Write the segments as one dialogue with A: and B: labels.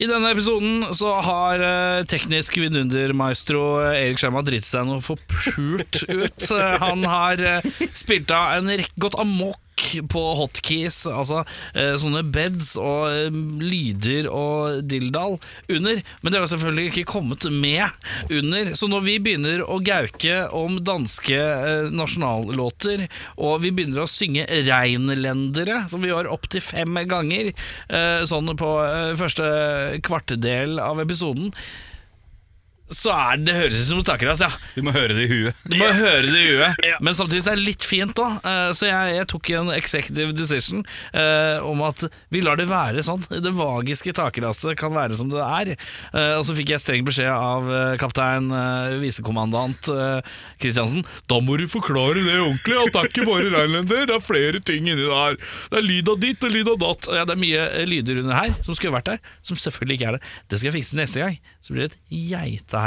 A: I denne episoden så har eh, teknisk vidundermaestro eh, Erik Skjerma driti seg noe forpult ut. Eh, Han har eh, spilt av en rekke gått amok på hotkeys, altså eh, sånne beds og eh, lyder og dilldall under. Men det har jo selvfølgelig ikke kommet med under. Så når vi begynner å gauke om danske eh, nasjonallåter, og vi begynner å synge reinlendere, som vi gjør opptil fem ganger eh, sånn på eh, første kvartedel av episoden, så er det høres ut som Otakeras, ja.
B: Du må høre det i huet.
A: Du må høre det i huet. Men samtidig så er det litt fint òg. Så jeg, jeg tok en executive decision eh, om at vi lar det være sånn. Det magiske takraset kan være som det er. Eh, og så fikk jeg streng beskjed av eh, kaptein eh, visekommandant eh, Kristiansen. Da må du forklare det ordentlig, at det er ikke bare reinlender. Det er flere ting inni der. Det er lyd av ditt og lyd av datt. Ja, det er mye eh, lyder under her som skulle vært der, som selvfølgelig ikke er det. Det skal jeg fikse neste gang. Så blir det et geitehelvete.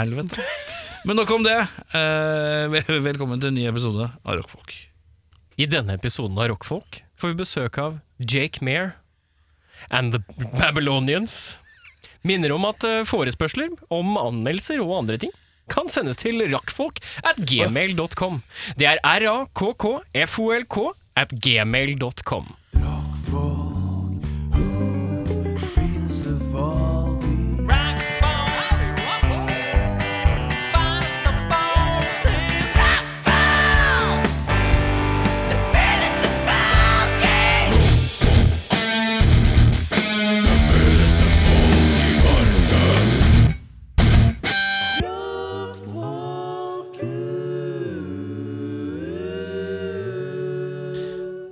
A: Men nok om det. Eh, vel- velkommen til en ny episode av Rockfolk.
C: I denne episoden av Rockfolk får vi besøk av Jake Mair and the Babylonians. Minner om at eh, forespørsler om anmeldelser og andre ting kan sendes til rakkfolk at gmail.com. Det er r-a-k-k-f-o-l-k at gmail.com.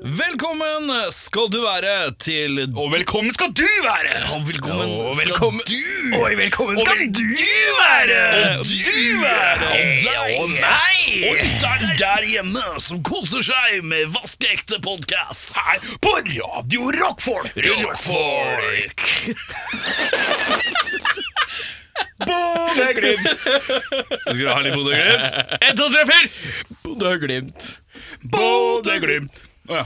A: Velkommen skal du være til
B: Og velkommen skal du være! Og velkommen
A: Og
B: velkommen. skal du! Oi, velkommen skal du, være!
A: Eh,
B: Og du være! Og deg! Og meg! Og lytteren der hjemme som koser seg med vaskeekte podkast her på Radio Rockfolk! Rockfolk! Bodø-Glimt! Skal du ha litt Bodø-Glimt?
A: En, to, tre, fire!
C: Bodø-Glimt.
B: Bodø-Glimt! Å ja.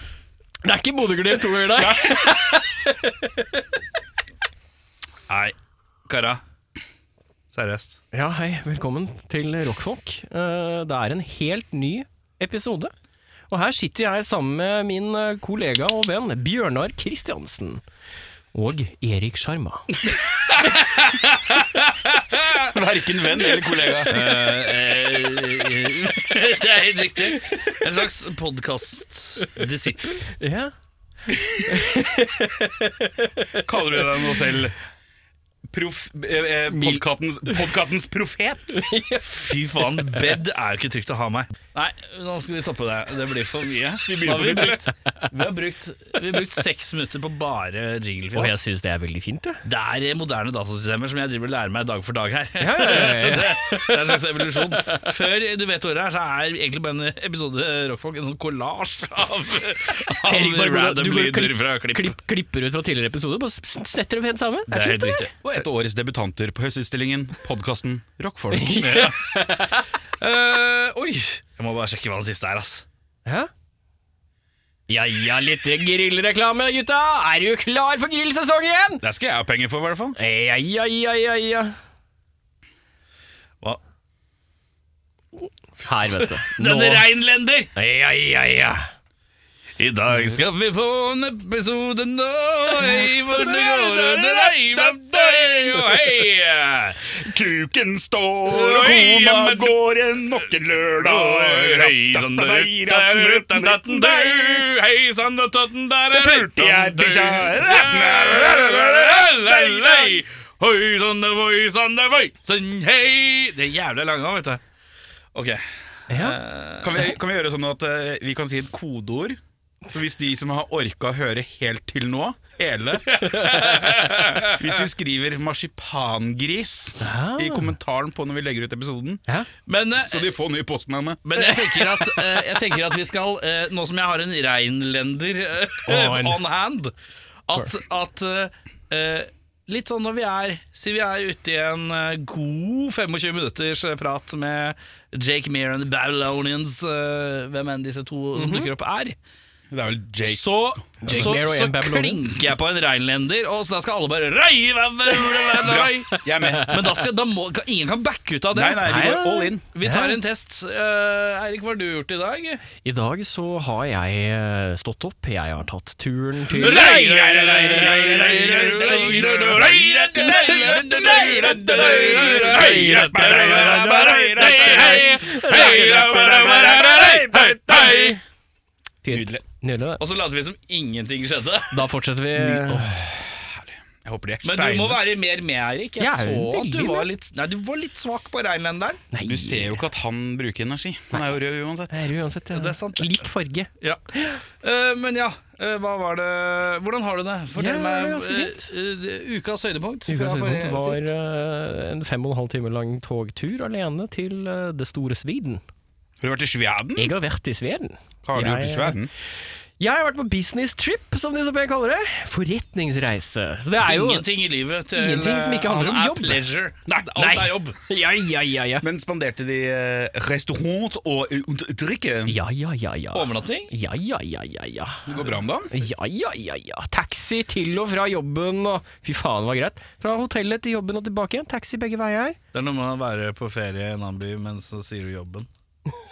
C: Det er ikke Bodø-Glimt to ganger der.
A: Nei, kara. Seriøst.
C: Ja, hei. Velkommen til Rockfolk. Eh, Det er en helt ny episode. Og her sitter jeg sammen med min eh, kollega og venn Bjørnar Kristiansen. Og Erik Sjarma.
B: Verken venn eller kollega.
A: Det er helt riktig. En slags podkastdisippel.
C: Ja.
B: Kaller du deg nå selv prof, eh, eh, podkastens, podkastens profet?
A: Fy faen, bed er jo ikke trygt å ha meg. Nei, nå skal vi stoppe det. Det blir for mye.
B: Vi
A: Nå
B: begynner
A: har
B: på
A: vi,
B: nytt, eller?
A: brukt, vi, har brukt, vi har brukt seks minutter på bare
C: Og jeg
A: jinglefjas.
C: syns det er veldig fint, jeg.
A: Det er moderne datasystemer som jeg driver og lærer meg dag for dag her.
C: Ja, ja, ja, ja.
A: Det er en slags evolusjon. Før du vet ordet her, så er egentlig bare en episode eh, Rockfolk en sånn kollasj av, av
C: Erik, bare gå-
A: random
C: du bare
A: lyder
C: klipp-
A: fra klipp.
C: Klipp, klipper ut fra tidligere episoder, bare s- s- setter det pent sammen.
A: Det er helt
C: fint,
A: riktig.
B: Og et årets debutanter på Høstutstillingen, podkasten Rockfolk.
A: Eh, oi! Jeg må bare sjekke hva den siste er, ass.
C: Ja. Ja ja, litt grillreklame, gutta! Er du klar for grillsesong igjen?
B: Det skal jeg ha penger for, i hvert fall.
C: Ja ja ja ja ja.
A: Hva?
C: Her, vet du.
A: Denne reinlender!
C: Ja ja ja.
A: I dag skal vi få en episode nå i hvor det går under deg og hei!
B: Kuken står og kona går en noen lørdag.
A: eh, Hei sann, da rutten, rutten, datten, du. Hei sann, da tatten, der er
B: pulte jeg
A: rutten, du.
B: bikkja.
A: Lalalalalalei. Hoi sann, da, voi sann, da, voi sann, hei. Det er jævlig lange òg, vet du. Ok.
C: ja.
B: Kan vi, kan vi gjøre sånn at eh, vi kan si et kodeord? Så hvis de som har orka å høre helt til nå, hele Hvis de skriver 'marsipangris'
C: Ah.
B: i kommentaren på når vi legger ut episoden,
C: ja.
A: Men, eh,
B: så de får ny postnavne.
A: men jeg, tenker at, eh, jeg tenker at vi skal, eh, nå som jeg har en reinlender eh,
C: On.
A: on hand At, at eh, eh, litt sånn når vi er Sier vi er ute i en eh, god 25 minutters eh, prat med Jake Mear and the Babylonians, eh, hvem enn disse to som dukker opp, er.
D: Det er vel Jake.
A: Så,
C: Jake
A: så,
C: Mayer og
A: så
C: en babylonier.
A: klinker jeg på en reinlender, og så da skal alle bare rei, rei, rei, rei, rei.
D: Jeg er med.
A: Men da skal, da må, kan- ingen kan backe ut av det.
D: Nei, nei, vi
C: Nei,
D: går
C: nei.
D: all in.
A: Vi tar en test. Eh, Eirik, hva har du gjort i dag?
C: I dag så har jeg eh, stått opp, jeg har tatt turen til Fint.
D: Nydelig.
C: Nydelig, det.
A: Og så later vi som ingenting skjedde.
C: Da fortsetter vi.
D: Jeg håper de er
A: Men du må
D: steine.
A: være mer med, Eirik. Jeg
C: Jeg er
A: så
C: jo
A: at du
C: veldig
A: var
C: med.
A: litt, nei, du var litt svak på reinlenderen.
C: Nei,
D: Du ser jo ikke at han bruker energi. Han er jo rød uansett.
C: jeg er jo uansett
A: det er sant.
C: lik farge.
A: Ja. Eh, men ja, eh, hva var det Hvordan har du det? Fortell
C: Ja, det er
A: meg
C: ganske
A: eh, eh, ukas høydepunkt. fra
C: Ukas høydepunkt
A: forrige-
C: var
A: sist.
C: eh, en fem og en halv time lang togtur alene til eh, det store Sweden.
D: Har du vært i Sveden?
C: Jeg har vært i Sveden.
D: Hva har du gjort i
C: Jeg-
D: Sveden?
C: Jeg har vært på business trip, som de så pent kaller det. Forretningsreise. Så det er jo
A: Ingenting i livet til
C: Ingenting som ikke handler om
A: eh,
C: jobb.
A: er pleasure.
C: Nei,
A: Alt
C: nei.
A: er jobb.
C: Ja, ja, ja, ja.
D: Men spanderte de eh, restaurant og eh, und- drikke?
C: Ja, ja, ja, ja.
A: Overnatting?
C: Ja, ja, ja, ja, ja.
D: Det går bra om dagen?
C: Ja, ja, ja, ja. Taxi til og fra jobben og Fy faen, det var greit. Fra hotellet til jobben og tilbake igjen. Taxi begge veier.
A: Det er noe med å være på ferie i en annen by, men så sier du jobben.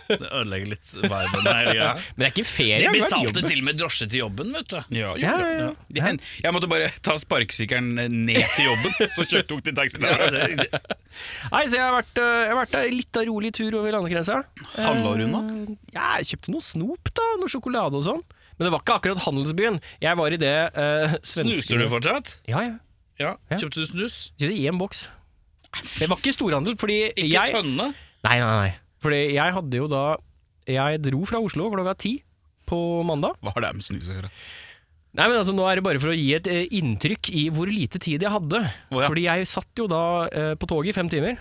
A: Det ødelegger litt viben her. Ja.
C: Men det er ikke ferie.
A: De
C: det har vært
A: betalte
C: jobben.
A: til og med drosje til jobben, vet du.
D: Ja,
C: Ja,
D: gjorde det.
C: ja,
D: De hen- Jeg måtte bare ta sparkesykkelen eh, ned til jobben, så kjørte tok de taxi der.
C: ja. Nei, så jeg har vært, eh, jeg har vært en litt av rolig tur over landegrensa.
D: Handla du nå?
C: Ja, jeg kjøpte noe snop, da. Noe sjokolade og sånn. Men det var ikke akkurat handelsbyen. Jeg var i det uh, svenske
A: Snuser du fortsatt?
C: Ja, ja.
A: Ja.
C: Ja.
A: Kjøpte du snus?
C: Kjøpte én boks. Det var ikke storhandel, fordi
A: Ikke
C: jeg
A: tønne?
C: Nei, nei, nei. Fordi jeg hadde jo da Jeg dro fra Oslo klokka ti på mandag.
D: Hva har det med snus å gjøre?
C: Nei, men altså Nå er det bare for å gi et eh, inntrykk i hvor lite tid jeg hadde.
D: ja.
C: Fordi jeg satt jo da eh, på toget i fem timer.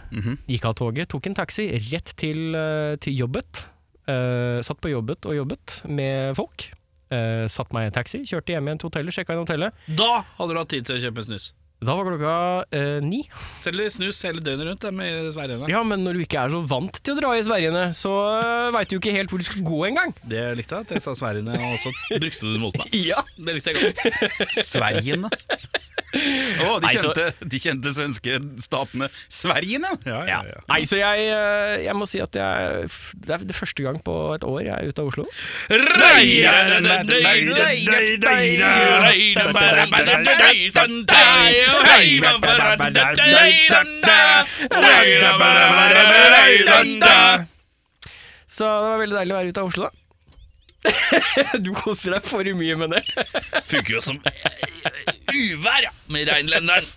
C: Gikk av toget, tok en taxi rett til, eh, til jobbet. Eh, satt på jobbet og jobbet med folk. Eh, satt meg i en taxi, kjørte hjem igjen til hotellet, sjekka inn hotellet.
A: Da hadde du hatt tid til å kjøpe snus.
C: Da var klokka eh, ni.
A: Selger snus hele døgnet rundt dem i Sverige.
C: Ja, men når du ikke er så vant til å dra i Sverigene, så eh, veit du ikke helt hvor du skal gå engang.
A: Det likte jeg at jeg sa Sverige, og så brukte du det mot meg.
C: Ja.
A: Det likte jeg godt.
D: Sverigene. Å, de,
C: Nei, så-
D: kjente, de kjente svenske statene Sverigene!
A: Ja, ja, ja.
C: Nei, så jeg, eh, jeg må si at jeg, det er det første gang på et år jeg er ute av Oslo. Så det var veldig deilig å være ute av Oslo, da. du koser deg for mye med det.
A: Funker jo som uvær ja, med reinlenderen.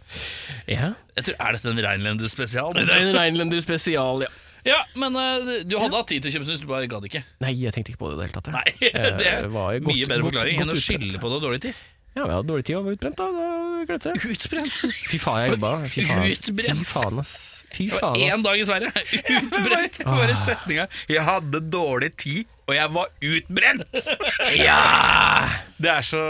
C: Ja.
A: Jeg tror, Er dette en reinlender spesial?
C: Det er en Reinlender spesial, ja.
A: Ja, men eh, du hadde hatt tid til å kjøpe snus, du bare gadd ikke.
C: Nei, jeg tenkte ikke på det i det hele tatt. jeg.
A: Nei, Det
C: Eh,
A: er
C: var jo
A: mye
C: godt-
A: bedre
C: godt-
A: forklaring enn
C: godt
A: å
C: utbrent.
A: skylde på det og dårlig tid.
C: Ja, men jeg hadde dårlig tid og var utbrent, da. da glemte jeg.
A: Utbrent.
C: Fy faen, jeg jobba. Fy faen.
A: Utbrent.
C: Fy faen, ass. Fy
A: Det var
C: faen,
A: én
C: ass.
A: dag i Sverige. Utbrent.
D: Bare setninga 'Jeg hadde dårlig tid, og jeg var utbrent'. Det er så,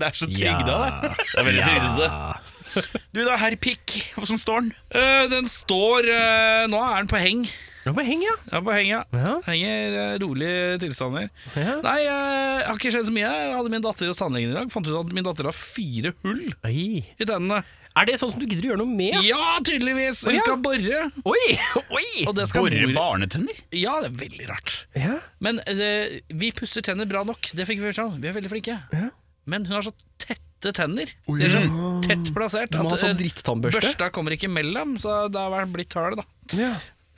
D: det er så trygda, det.
A: Det er veldig trygdete.
D: Du da, herr Pikk, åssen står den?
A: Eh, den står eh, Nå er den på heng.
C: Nå må jeg henge, ja.
A: Ja, på heng, ja.
C: Ja,
A: Henger eh, rolige tilstander.
C: ja.
A: Nei, eh, det har ikke skjedd så mye. Jeg hadde min datter hos tannlegen i dag. Fant ut at min datter har fire hull
C: Oi.
A: i tennene.
C: Er det sånn som du gidder å gjøre noe med?
A: Ja, tydeligvis! Hun
C: ja.
A: skal bore.
C: Oi! Oi!
A: Og det skal
D: Borre
A: mor-
D: barnetenner?
A: Ja, det er veldig rart.
C: Ja.
A: Men eh, vi pusser tenner bra nok. Det fikk vi hørt om. Vi er veldig flinke.
C: Ja.
A: Men hun har så tette tenner. De er så tett plassert.
C: Du må ha
A: at,
C: sånn
A: eh,
C: drittannbørste.
A: Børsta kommer ikke mellom, så det har vært blitt høl, da.
C: Ja.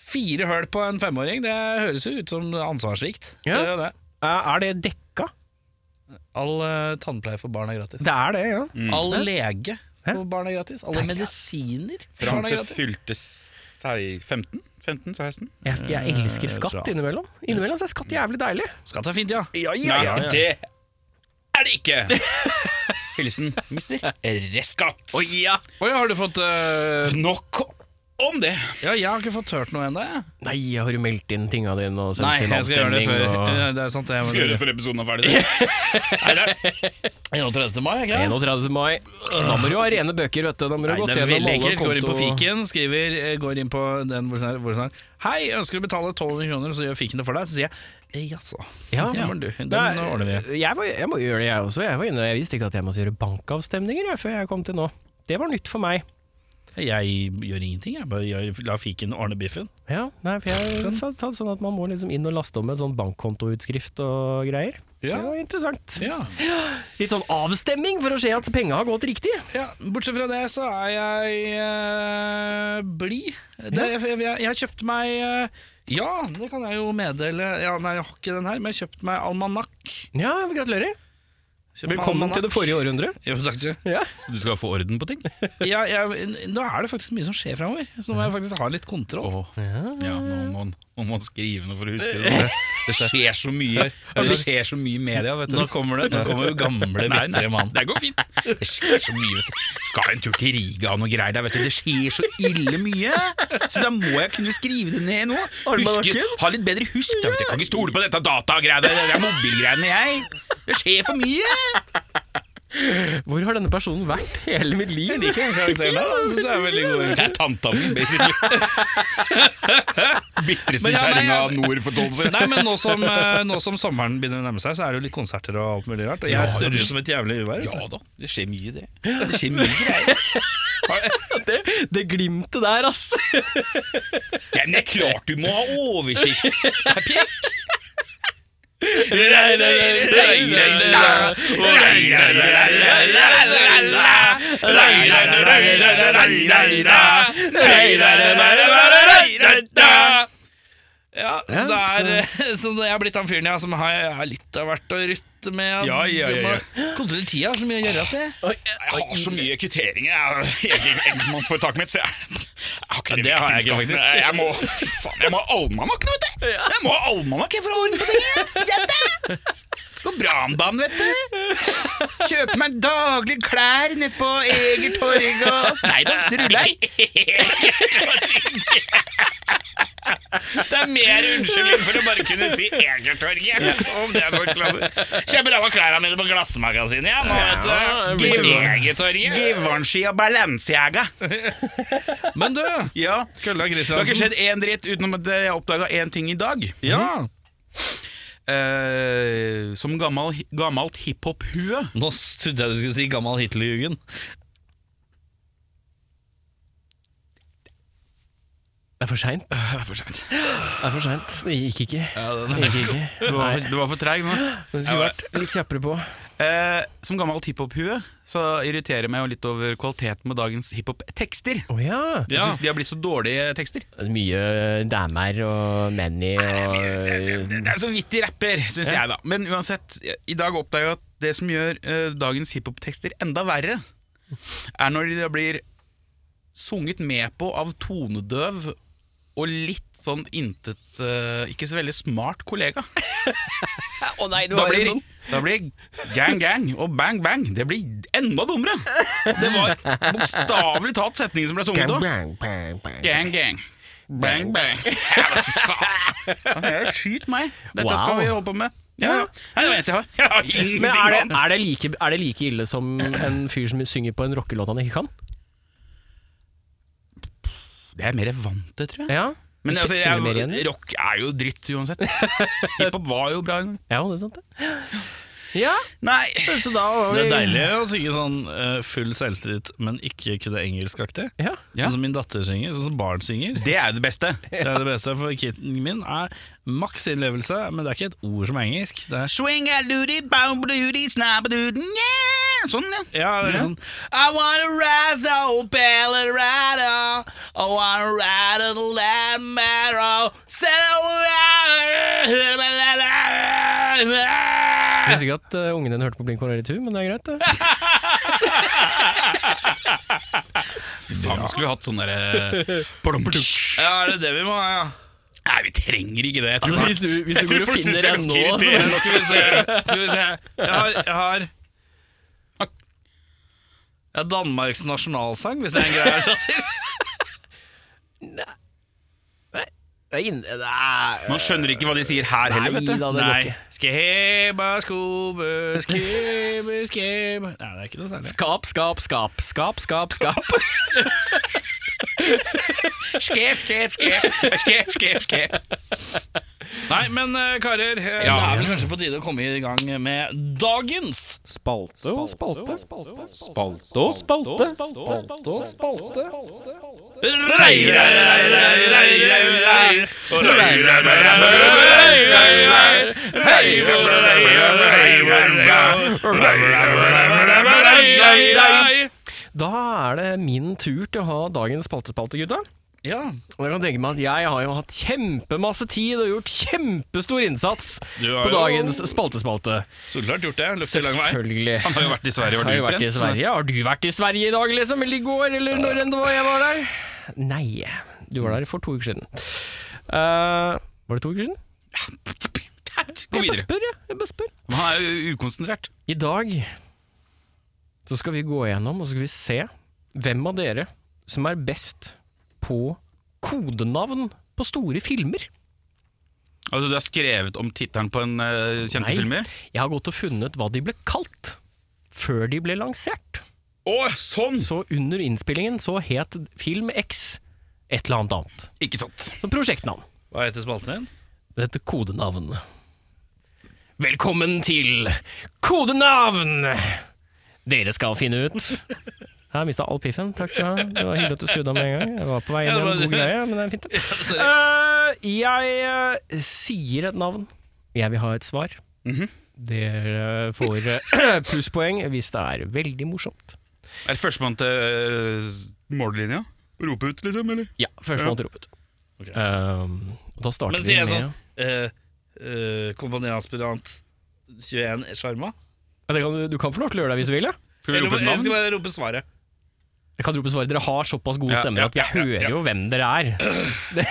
A: Fire høl på en femåring, det høres jo ut som ansvarssvikt.
C: Ja.
A: Det er jo det.
C: Er det dekka?
A: All eh, tannpleie for barn er gratis.
C: Det er det, ja.
A: All lege
C: Hæ?
A: for barn er gratis. Alle medisiner for
D: Fram
A: barn er
D: til
A: gratis.
D: fylte sei- 15? 15-16?
C: Jeg, jeg elsker skatt
A: tror jeg.
C: innimellom. Innimellom så er skatt jævlig deilig.
A: Skatt er fint, ja.
D: Ja, ja,
A: ja, ja.
D: det er det ikke! Hilsen mister Reskatt.
C: ja.
A: Oi, har du fått eh,
D: Nok om det.
A: Ja, jeg har ikke fått hørt noe ennå, jeg.
C: Nei, har du meldt inn tinga dine og sendt
A: Nei,
C: inn
A: jeg skal gjøre det
C: avstemning?
A: før.
C: og...
A: Ja, Det er sant, det.
D: Skal gjøre det
A: det.
D: før episoden er ferdig. Nei, det er-
A: 31. mai, ikke sant?
C: 31. mai. Da må du ha rene bøker, vet du. Da må du
A: Nei,
C: ha gått
A: det er
C: gjennom
A: veldig
C: alle
A: enkelt. Går inn på
C: konto-
A: fiken, skriver, eh, går inn på den hvor det er- hvor det er Hei, ønsker du å betale 1200 kroner, så gjør fiken det for deg. Så sier jeg Eh, Jaså.
C: Ja.
A: Den var du. Den
C: Nei,
A: ordner vi.
C: Jeg, var, jeg må gjøre det, jeg også. Jeg, var inne, jeg visste ikke at jeg måtte gjøre bankavstemninger jeg, før jeg kom til nå. Det var nytt for meg.
A: Jeg gjør ingenting, jeg. Bare gjør, la fiken ordne biffen.
C: Ja, nei, for jeg har tatt- tatt sånn at Man må liksom inn og laste om en sånn bankkontoutskrift og greier.
A: Ja.
C: Det var interessant.
A: Ja.
C: Litt sånn avstemming for å se at penga har gått riktig.
A: ja. Bortsett fra det, så er jeg eh, blid. Det- Jeg, jeg, jeg har kjøpt meg eh, Ja, det kan jeg jo meddele. Ja, nei, jeg har ikke den her, men jeg har kjøpt meg almanakk.
C: Ja, Gratulerer.
A: Kjøpt meg
C: Velkommen
A: almanakk.
C: til det forrige århundret.
A: Jo, takk du.
C: Ja.
D: Du skal få orden på ting?
A: Ja, jeg, nå er det faktisk mye som skjer framover, så nå må jeg faktisk ha litt kontroll.
D: Åh, ja, nå må man, nå må man skrive noe for å huske det. Det skjer så mye Det skjer så mye i media, vet du.
B: Nå kommer det, nå kommer jo gamle,
D: Nei, nei,
B: bitre mann.
D: det går fint. Det skjer så mye, vet du. Skal en tur til Riga og noe greier der, vet du. Det skjer så ille mye. Så da må jeg kunne skrive det ned nå. Huske,
C: Almanakken?
D: ha litt bedre husk. da, vet du. Jeg kan ikke stole på dette datagreiene, det er mobilgreiene, jeg. Det skjer for mye.
C: Hvor har denne personen vært hele mitt liv? Jeg liker den karakteren der.
A: Det synes jeg er veldig god.
D: Det er tanta mi, basically.
A: Men
D: Bitreste
A: ja, nei,
D: kjerringa
A: jeg-
D: av nordforståelser.
A: Nei, men nå som, eh, nå som sommeren begynner å nærme seg, så er det jo litt konserter og alt mulig rart. Og jeg
D: Ja,
A: surrer
D: det-
A: som et jævlig uvær. vet du.
D: Ja da, det skjer mye, det. Det skjer mye greier.
C: Det, det glimtet der, ass.
D: Ja, men det er klart du må ha oversikt.
A: Ja, så det er eh, så jeg har blitt han fyren ja, som har, jeg har litt av hvert å rutte med.
D: Ja, ja, ja, ja.
A: Kontrollere tida, har så mye å gjøre seg.
D: Jeg har så mye kvitteringer jeg- jeg- enkeltmannsforetaket mitt, så jeg, jeg har ikke
A: det har jeg ikke,
D: regnskap.
A: faktisk.
D: Jeg må, fy faen, jeg må ha almanakk nå, vet du. Jeg må ha almanakk jeg, for å ordne på tingene. Jette! Går bra om dagen, vet du. Kjøper meg daglig klær nede på Eger Torg og Nei da, det ruller jeg.
B: Det er mer unnskyldning for å bare kunne si Egertorget. Som det er vår klasse. Kjøper alle klærne mine på Glassmagasinet, ja. Nå,
D: det
B: vet du.
D: blir bra.
B: Egertorget.
D: Givenchy og Balenciaga.
A: Men du,
D: Ja.
A: Kølla
D: Det har ikke
A: Kristiansen.
D: skjedd én dritt utenom at jeg oppdaga én ting i dag.
A: Ja,
D: Eh, som gammel, gammelt hiphop-hue
A: nå s- trodde jeg du skulle si gammal Hitlerjugend.
C: Det er for seint. Det
D: Det er for seint.
C: er for seint. Det gikk ikke. Det gikk ikke.
D: Du var for, du var for treig nå.
C: Men Du skulle vært litt kjappere på.
D: Eh, som gammelt hiphop-hue så irriterer jeg meg jo litt over kvaliteten med dagens hiphop-tekster.
C: Å ja.
D: Jeg syns de har blitt så dårlige tekster.
C: Mye damer og menny og
D: Det er så vidt de rapper, syns jeg, da. Men uansett, i dag oppdager jeg at det som gjør eh, dagens hiphop-tekster enda verre, er når de da blir sunget med på av tonedøv og litt sånn intet eh, Ikke så veldig smart kollega.
C: Å nei, du
D: Da blir, da blir gang gang og bang bang Det blir enda dummere! Det var bokstavelig talt setningen som ble sunget da. Gang gang. Bang bang. Ja, men fy faen. Jeg Skyt meg. Dette skal
C: Wow.
D: vi holde på med. Ja, ja. Nei, Det er det eneste jeg har. Jeg har
C: Men er det,
D: ingenting annet.
C: er, det like, er det like ille som en fyr som synger på en rockelåt han ikke kan?
D: Det er jeg mer vant til, tror jeg.
C: Ja,
D: Men
C: Du
D: altså,
C: kjenner mer igjen i
D: jeg,
C: det?
D: rock er jo dritt uansett. Hiphop var jo bra en gang.
C: ja, det er sant. det. Ja,
D: Nei,
C: så da var
A: Det
C: vi
A: er deilig å synge sånn eh, full selvtillit, men ikke kunne engelskaktig.
C: Ja.
D: Ja.
A: Sånn som min datter synger, sånn som barn synger.
D: det er jo det beste.
A: Det er det beste, for kitten min er maks innlevelse, men det er ikke et ord som er engelsk. Det er
D: Swing a doody, bow doody, snap doody, yeah. Sånn, ja.
A: ja, det er sånn I wanna rise up, Colorado I wanna ride on the land marrow Set
C: Jeg visste ikke at eh, ungen din hørte på Blink 182, men det er greit, det.
D: Fy faen, vi skulle hatt sånn derre Nei,
A: Ja, det er det vi må ha, ja.
D: vi trenger ikke det. Jeg tror
C: Altså, hvis du, hvis
D: Jeg
C: du går
D: tror
C: og
D: folk synes
C: finner
D: jeg er
C: en nå,
D: ganske
C: så
D: irriterende.
A: Skal vi se, skal vi se. Jeg har, jeg har ja, Danmarks nasjonalsang, hvis det er en greie jeg har satt til.
C: Det er inne det er-
D: Man skjønner ikke hva de sier her heller, vet
C: Nei da,
D: du.
C: det går
A: Nei.
C: ikke.
A: Skeba, skobe, skebe, skeba Nei, det er ikke noe særlig.
C: Skap, skap, skap. Skap, skap, skap.
D: Skep, skep, skep. Skep, skep, skep.
A: Nei, men eh, karer, eh, det er vel kanskje på tide å komme i gang med dagens
E: Spalte og spalte.
D: Spalte og spalte. Spalte og spalte.
C: Da er det min tur til å ha dagens spaltespalte, gutta.
A: Ja,
C: Og jeg kan tenke meg at jeg har jo hatt kjempemasse tid og gjort kjempestor innsats
A: du
C: på
A: har jo
C: dagens spaltespalte.
A: så klart gjort det. Løpt i lang vei.
C: Selvfølgelig.
D: Han har jo vært i Sverige og
C: Har jo
D: vært
C: vært i
D: utbrent.
C: Sverige. Har du vært i Sverige i dag, liksom? Eller i går, eller når enn det var jeg var der? Nei. Du var der for to uker siden. Eh, var det to uker siden?
D: Gå
C: Jeg bare
D: videre.
C: spør, jeg. jeg bare spør.
D: Men Han er jo ukonsentrert.
C: I dag så skal vi gå gjennom og så skal vi se hvem av dere som er best på kodenavn på store filmer.
D: Altså, du har skrevet om tittelen på en eh, kjente
C: Nei.
D: filmer?
C: Jeg har gått og funnet hva de ble kalt før de ble lansert.
D: Å, sånn!
C: Så under innspillingen så het Film X et eller annet annet.
D: Ikke sant.
C: Så prosjektnavn.
A: Hva heter spalten din?
C: Det heter kodenavn. Velkommen til kodenavn! Dere skal finne ut. Jeg har mista all piffen. Takk skal du ha. Det var hyggelig at du skrudde av med en gang. Jeg var på vei inn i en god greie, men det er fint. det. Eh, jeg eh, sier et navn. Jeg vil ha et svar. Dere får eh, plusspoeng hvis det er veldig morsomt.
D: Er det førstemann til eh, mållinja? Rope ut, liksom? eller?
C: Ja, førstemann til å rope ut.
A: Ok.
C: Eh, og da starter
A: Men
C: vi
A: sier jeg
C: med
A: sånn eh, eh, Kompaniaspirant 21 Sjarma?
C: ja, det kan, du- Du kan få lov til å gjøre det hvis du vil. Ja.
D: Skal vi
A: Eller
D: rope et
A: jeg skal
D: navn?
A: bare rope svaret.
C: Jeg kan rope svaret. Dere har såpass gode
D: Ja,
C: stemmer
D: ja,
C: at jeg
D: ja, ja,
C: hører
D: ja.
C: jo hvem dere er. Det,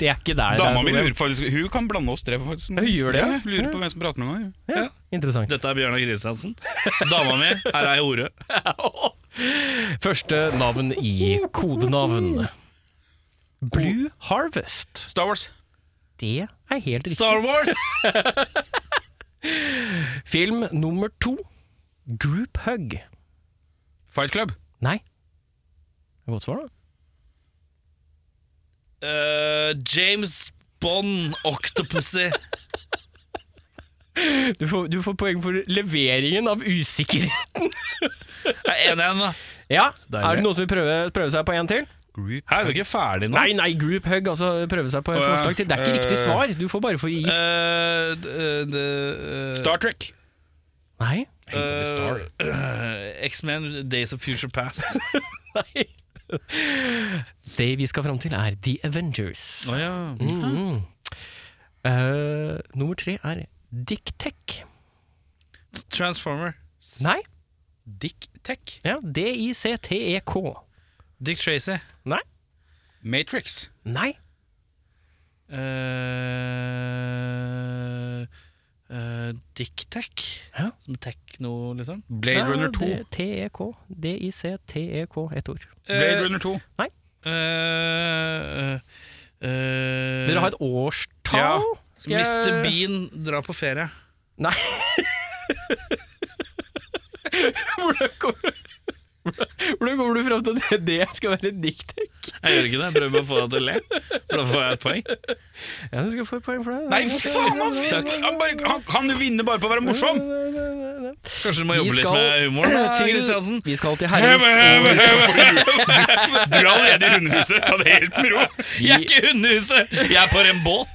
C: det er ikke der
D: Dama mi
C: det er.
D: lurer faktisk Hun kan blande oss tre, faktisk.
C: Hun gjør det,
D: Ja,
C: ja.
D: lurer på hvem som prater noen gang.
C: Ja, interessant.
A: Dette er Bjørnar Kristiansen. Dama mi, her er jeg hore.
C: Første navn i kodenavn. Blue Harvest.
D: Star Wars.
C: Det er helt riktig.
A: Star Wars!
C: Film nummer to. Group Hug.
D: Fight Club.
C: Nei. Det er Godt svar, da.
A: Eh, James Bond Octopussy.
C: Du får, du får poeng for leveringen av usikkerhet.
A: Jeg er enig i henne.
C: Ja,
A: Deilig.
C: Er det noen som vil prøve, prøve seg på en til?
D: Group.
A: Her er vi ikke ferdig nå.
C: Nei, nei, group hug. Altså prøve seg på et
D: Å, ja.
C: forslag til. Det er ikke riktig
D: Eh.
C: svar. Du får bare få gi
A: Eh, d- eh, d- eh,
D: Star Trek.
C: Nei.
A: eh, eh, X-Men Days of Future Past.
C: Nei. Det vi skal fram til, er The Avengers.
A: Å ja.
C: Mm. Eh, nummer tre er Dictech.
A: Transformer.
C: Nei,
D: Dick Tech.
C: ja, D-I-C-T-E-K.
A: Dick Tracy.
C: Nei.
D: Matrix.
C: Nei.
A: Eh, Uh, Dick Tech.
C: Ja.
A: Som tekno, liksom.
D: Blade
C: Ja, E
D: Runner 2.
C: det- T-E-K. D-I-C-T-E-k, E ett ord.
D: Blade Runner 2.
A: Eh, eh, eh,
C: Dere har et årstall?
D: Ja.
C: Skal jeg-
A: Mr. Bean drar på ferie.
C: Nei. Hvordan kommer, hvordan kommer du fram til at det, det skal være Dictech?
A: Jeg gjør ikke det, jeg prøver bare å få deg til å le. For da får jeg et poeng.
C: Ja, du skal få et poeng for det.
D: Nei, faen! Han, vinner. han, bare, han kan jo vinne bare på å være morsom!
A: Kanskje du må
C: Vi
A: jobbe litt
C: skal
A: med humoren? da,
C: til,
A: Kristiansen?
C: vi skal til herrens
D: Du er allerede i rundehuset. Ta det helt med ro.
A: Jeg er ikke i hundehuset, jeg er på en båt.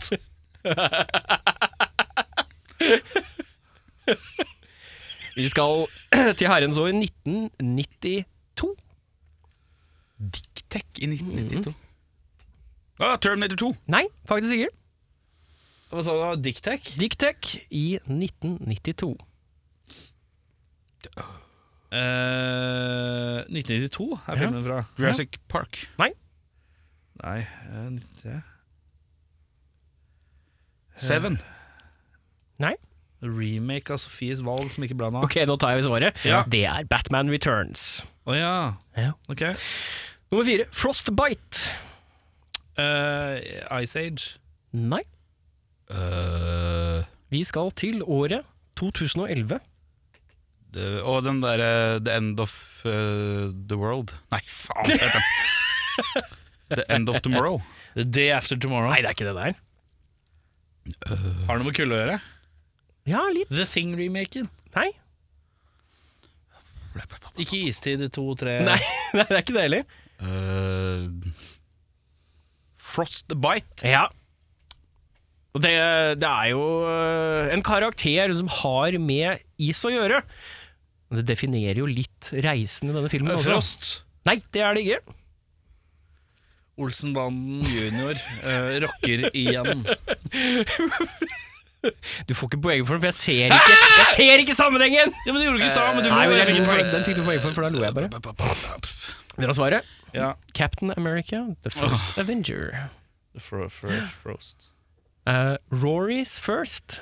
C: Vi skal til herrens år 1992.
D: Dick Tech i 1992. Ah, Terminator 2.
C: Nei, faktisk ikke.
A: Hva sa du, Dictac?
C: Dictec i 1992.
A: 1992 Eh, er filmen fra.
D: Jurassic Park.
A: Nei, eh, 93
D: Seven.
C: Nei?
A: Remake av Sofies valg som ikke ble noe av.
C: Ok, nå tar jeg svaret.
A: Ja.
C: Det er Batman Returns.
A: Å ja.
C: Ja.
A: Ok.
D: Eh,
C: Nummer fire, Frostbite.
A: Eh, Ice Age.
C: Nei.
D: Eh,
C: Vi skal til året 2011.
D: Det- og den derre The End of uh, the World. Nei, faen! hva heter den? the End of Tomorrow.
A: The Day After Tomorrow.
C: Nei, det er ikke det der.
A: Har det noe med kulde å gjøre?
C: Ja, litt.
A: The Thing-remaken.
C: Nei.
A: Ikke Istid 2-3.
C: Nei, nei, det er ikke det heller.
D: Uh, Frostbite.
C: Ja. Og det, det er jo øh, en karakter som har med is å gjøre. Men Det definerer jo litt reisen i denne filmen. også.
A: Frost.
C: Nei, det er det ikke.
A: Olsenbanden junior eh, rocker igjen.
C: Du får ikke poeng for den, for jeg ser ikke, jeg ser ikke sammenhengen!
A: Ja, men Det gjorde du ikke i stad, men du
C: Nei,
A: må
C: men
A: jo
C: jeg fikk
A: få-
C: poeng. Den fikk du poeng for, for da lo jeg bare. Vil dere ha svaret?
A: Ja.
C: Captain America, The First Avenger.
A: Fro, fro, frost.
C: Eh, Rory's First.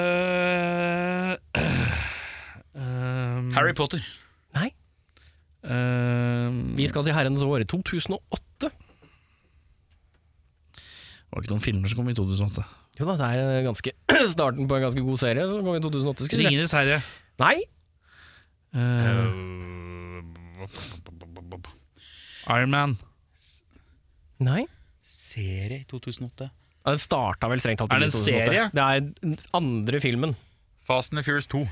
A: Eh, ehm,
D: Harry Potter.
C: Nei,
A: ehm,
C: vi skal til herrens år 2008.
A: Det var ikke noen filmer som kom i 2008.
C: Jo da, det er eh, ganske starten på en ganske god serie som kom i 2008. skulle jeg si.
A: eh, Ringenes herre.
C: Nei, Eh,
A: Uh, Iron Man.
C: nei.
D: Serie i 2008.
C: Ja, det starta vel strengt tatt i
A: Er det en
C: 2008.
A: serie?
C: Det er den andre filmen.
D: Fast and the Furious 2.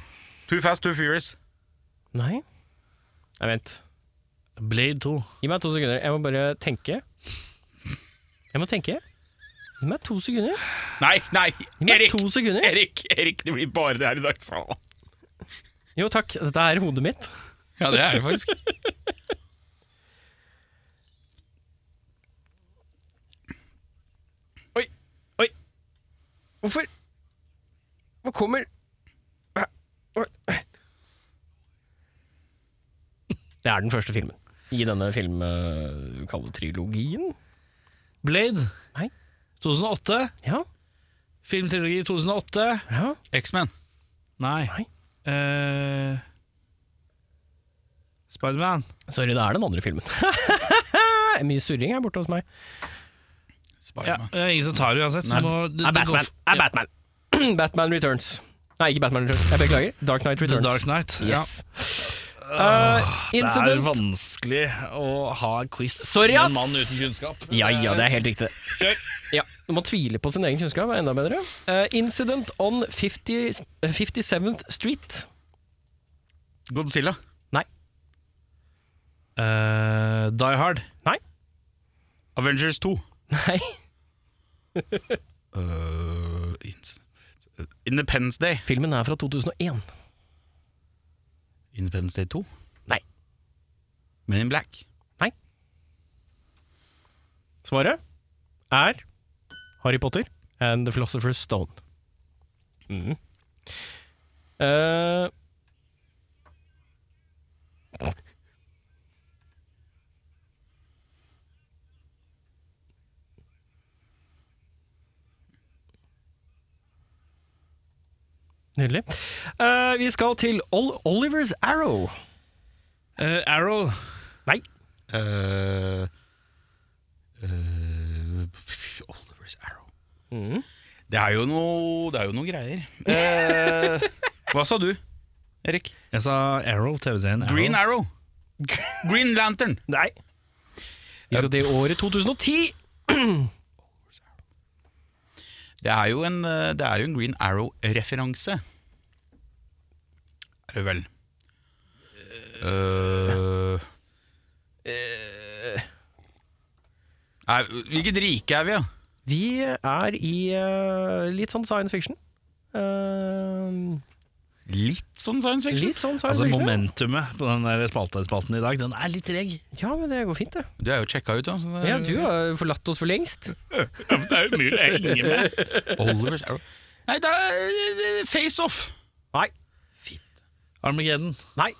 D: Too Fast, Too Furious.
C: Nei. Nei, vent.
A: Blade 2.
C: Gi meg to sekunder. Jeg må bare tenke. Jeg må tenke. Gi meg to sekunder.
D: Nei, nei!
C: Gi meg
D: Erik!
C: to sekunder.
D: Erik, Erik, det blir bare det her i dag. Faen.
C: Jo takk, dette er hodet mitt.
D: Ja, det er det faktisk.
C: Hvorfor Hva kommer Det er den første filmen i denne filmkalletrilogien.
A: Blade.
C: Nei.
A: 2008.
C: Ja,
A: Filmtrilogi 2008.
C: ja.
D: X-Men.
A: Nei.
C: Nei.
A: Eh, Spiderman.
C: Sorry, det er den andre filmen. Mye surring her borte hos meg.
A: Ja,
D: Spiderman.
A: det er ingen som tar det uansett. Så
D: Nei.
A: må, det,
C: Er
A: det går f-
C: Batman. Er Batman. Batman Returns. Nei, ikke Batman Returns. Jeg beklager. Dark Knight
A: The
C: Returns.
A: Dark Knight.
C: Yes. Uh,
A: Ja. Det er
C: incident.
A: vanskelig å ha quiz
C: Sorry,
A: med
C: ass.
A: en mann uten kunnskap.
C: Ja, ja, det er helt riktig.
A: Kjør.
C: Ja, Du må tvile på sin egen kunnskap, er enda bedre. Eh, incident on 50, 57th Street.
D: Godzilla.
C: Nei.
A: Eh, Die Hard.
C: Nei.
D: Avengers 2.
C: Nei.
D: Uh, ins- uh, Independence Day.
C: Filmen er fra 2001.
D: Independence Day 2.
C: Nei.
D: Men in Black.
C: Svaret er Harry Potter and The Philosopher's Stone. Mm. Eh, Nydelig. Eh, vi skal til Ol Oliver's Arrow.
A: Eh, Arrow.
C: Nei.
D: Uh, uh, Oliver's Arrow.
C: Mhm.
D: Det er jo noe, det er jo noe greier. Eh, hva sa du, Erik?
A: Jeg sa Arrow, TV-serien. Arrow.
D: Green Arrow. Green Lantern.
C: Nei. Vi skal til året 2010.
D: Det er jo en, eh, det er jo en Green Arrow-referanse. Er det vel. Eh, Nei, hvilket rike er vi, da?
C: Vi er i eh, litt sånn science fiction. Eh,
D: Litt sånn science fiction?
C: litt sånn science
A: Altså
C: fiction. ja.
A: Momentumet på den der spalta- spalten i dag, den er litt treg.
C: Ja, men det går fint, det.
D: Du er jo sjekka ut, da. Så det er,
C: Ja, du har forlatt oss for lengst.
A: Det er umulig å henge med.
D: Oliver's Arrow. Nei, det er eh, Face Off.
C: Nei.
A: Armageddon.
C: Nei.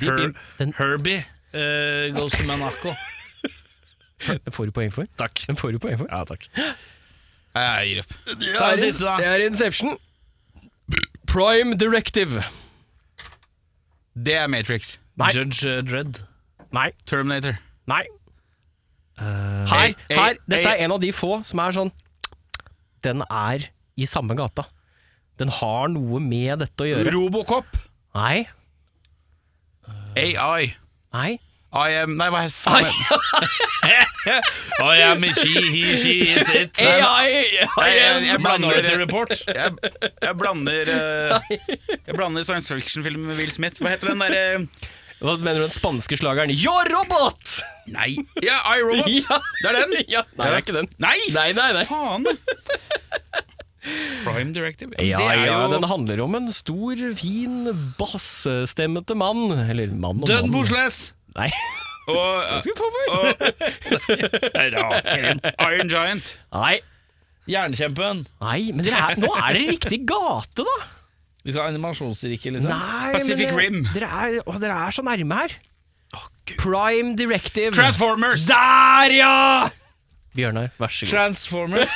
D: Deep in.
C: Den-
A: Herbie eh, goes to Monaco.
C: Den får du poeng for.
A: Takk.
C: Den får du poeng for.
A: Ja, takk.
D: Nei, Jeg gir opp.
A: Ta den siste,
C: Det
A: da.
C: er Inception. Prime Directive.
D: Det er Matrix.
C: Nei.
A: Judge eh, Dredd.
C: Nei.
D: Terminator.
C: Nei. Her,
D: Eh,
C: her.
D: eh,
C: Dette
D: eh.
C: er en av de få som er sånn Den er i samme gata. Den har noe med dette å gjøre.
D: Robocop.
C: Nei.
D: AI.
C: Nei.
D: I am Nei, hva heter faen?
A: I am a she, he, she, is it.
D: Nei, jeg, jeg
A: Minority
D: blander,
A: Report.
D: jeg, jeg blander eh, Jeg blander science fiction-film med Will Smith. Hva heter den eh? derre
C: Hva mener du den spanske slageren? Yo, robot!
D: Nei. Ja, I, Robot.
C: Ja.
D: Det er den.
C: Ja, nei, det er ikke den.
D: Nei!
C: Nei, nei, nei.
D: Faen! Prime Directive.
C: Ja,
D: det er
C: ja,
D: jo
C: den handler om en stor, fin, bassestemmete mann. Eller mann og
A: Døden
C: mann.
A: Bosles.
C: Nei,
D: og,
C: skal vi få for?
D: eh, Iron Giant.
C: Nei,
A: Jernkjempen.
C: nei, men dere er, nå er dere i riktig gate, da.
A: Vi skal ha animasjonsriket, liksom.
C: Nei,
D: Pacific
C: men, eh,
D: Rim.
C: Dere er, å, dere er så nærme her. Prime Directive.
D: Transformers! Ah,
C: Der, ja! Bjørnar, vær så god.
A: Transformers.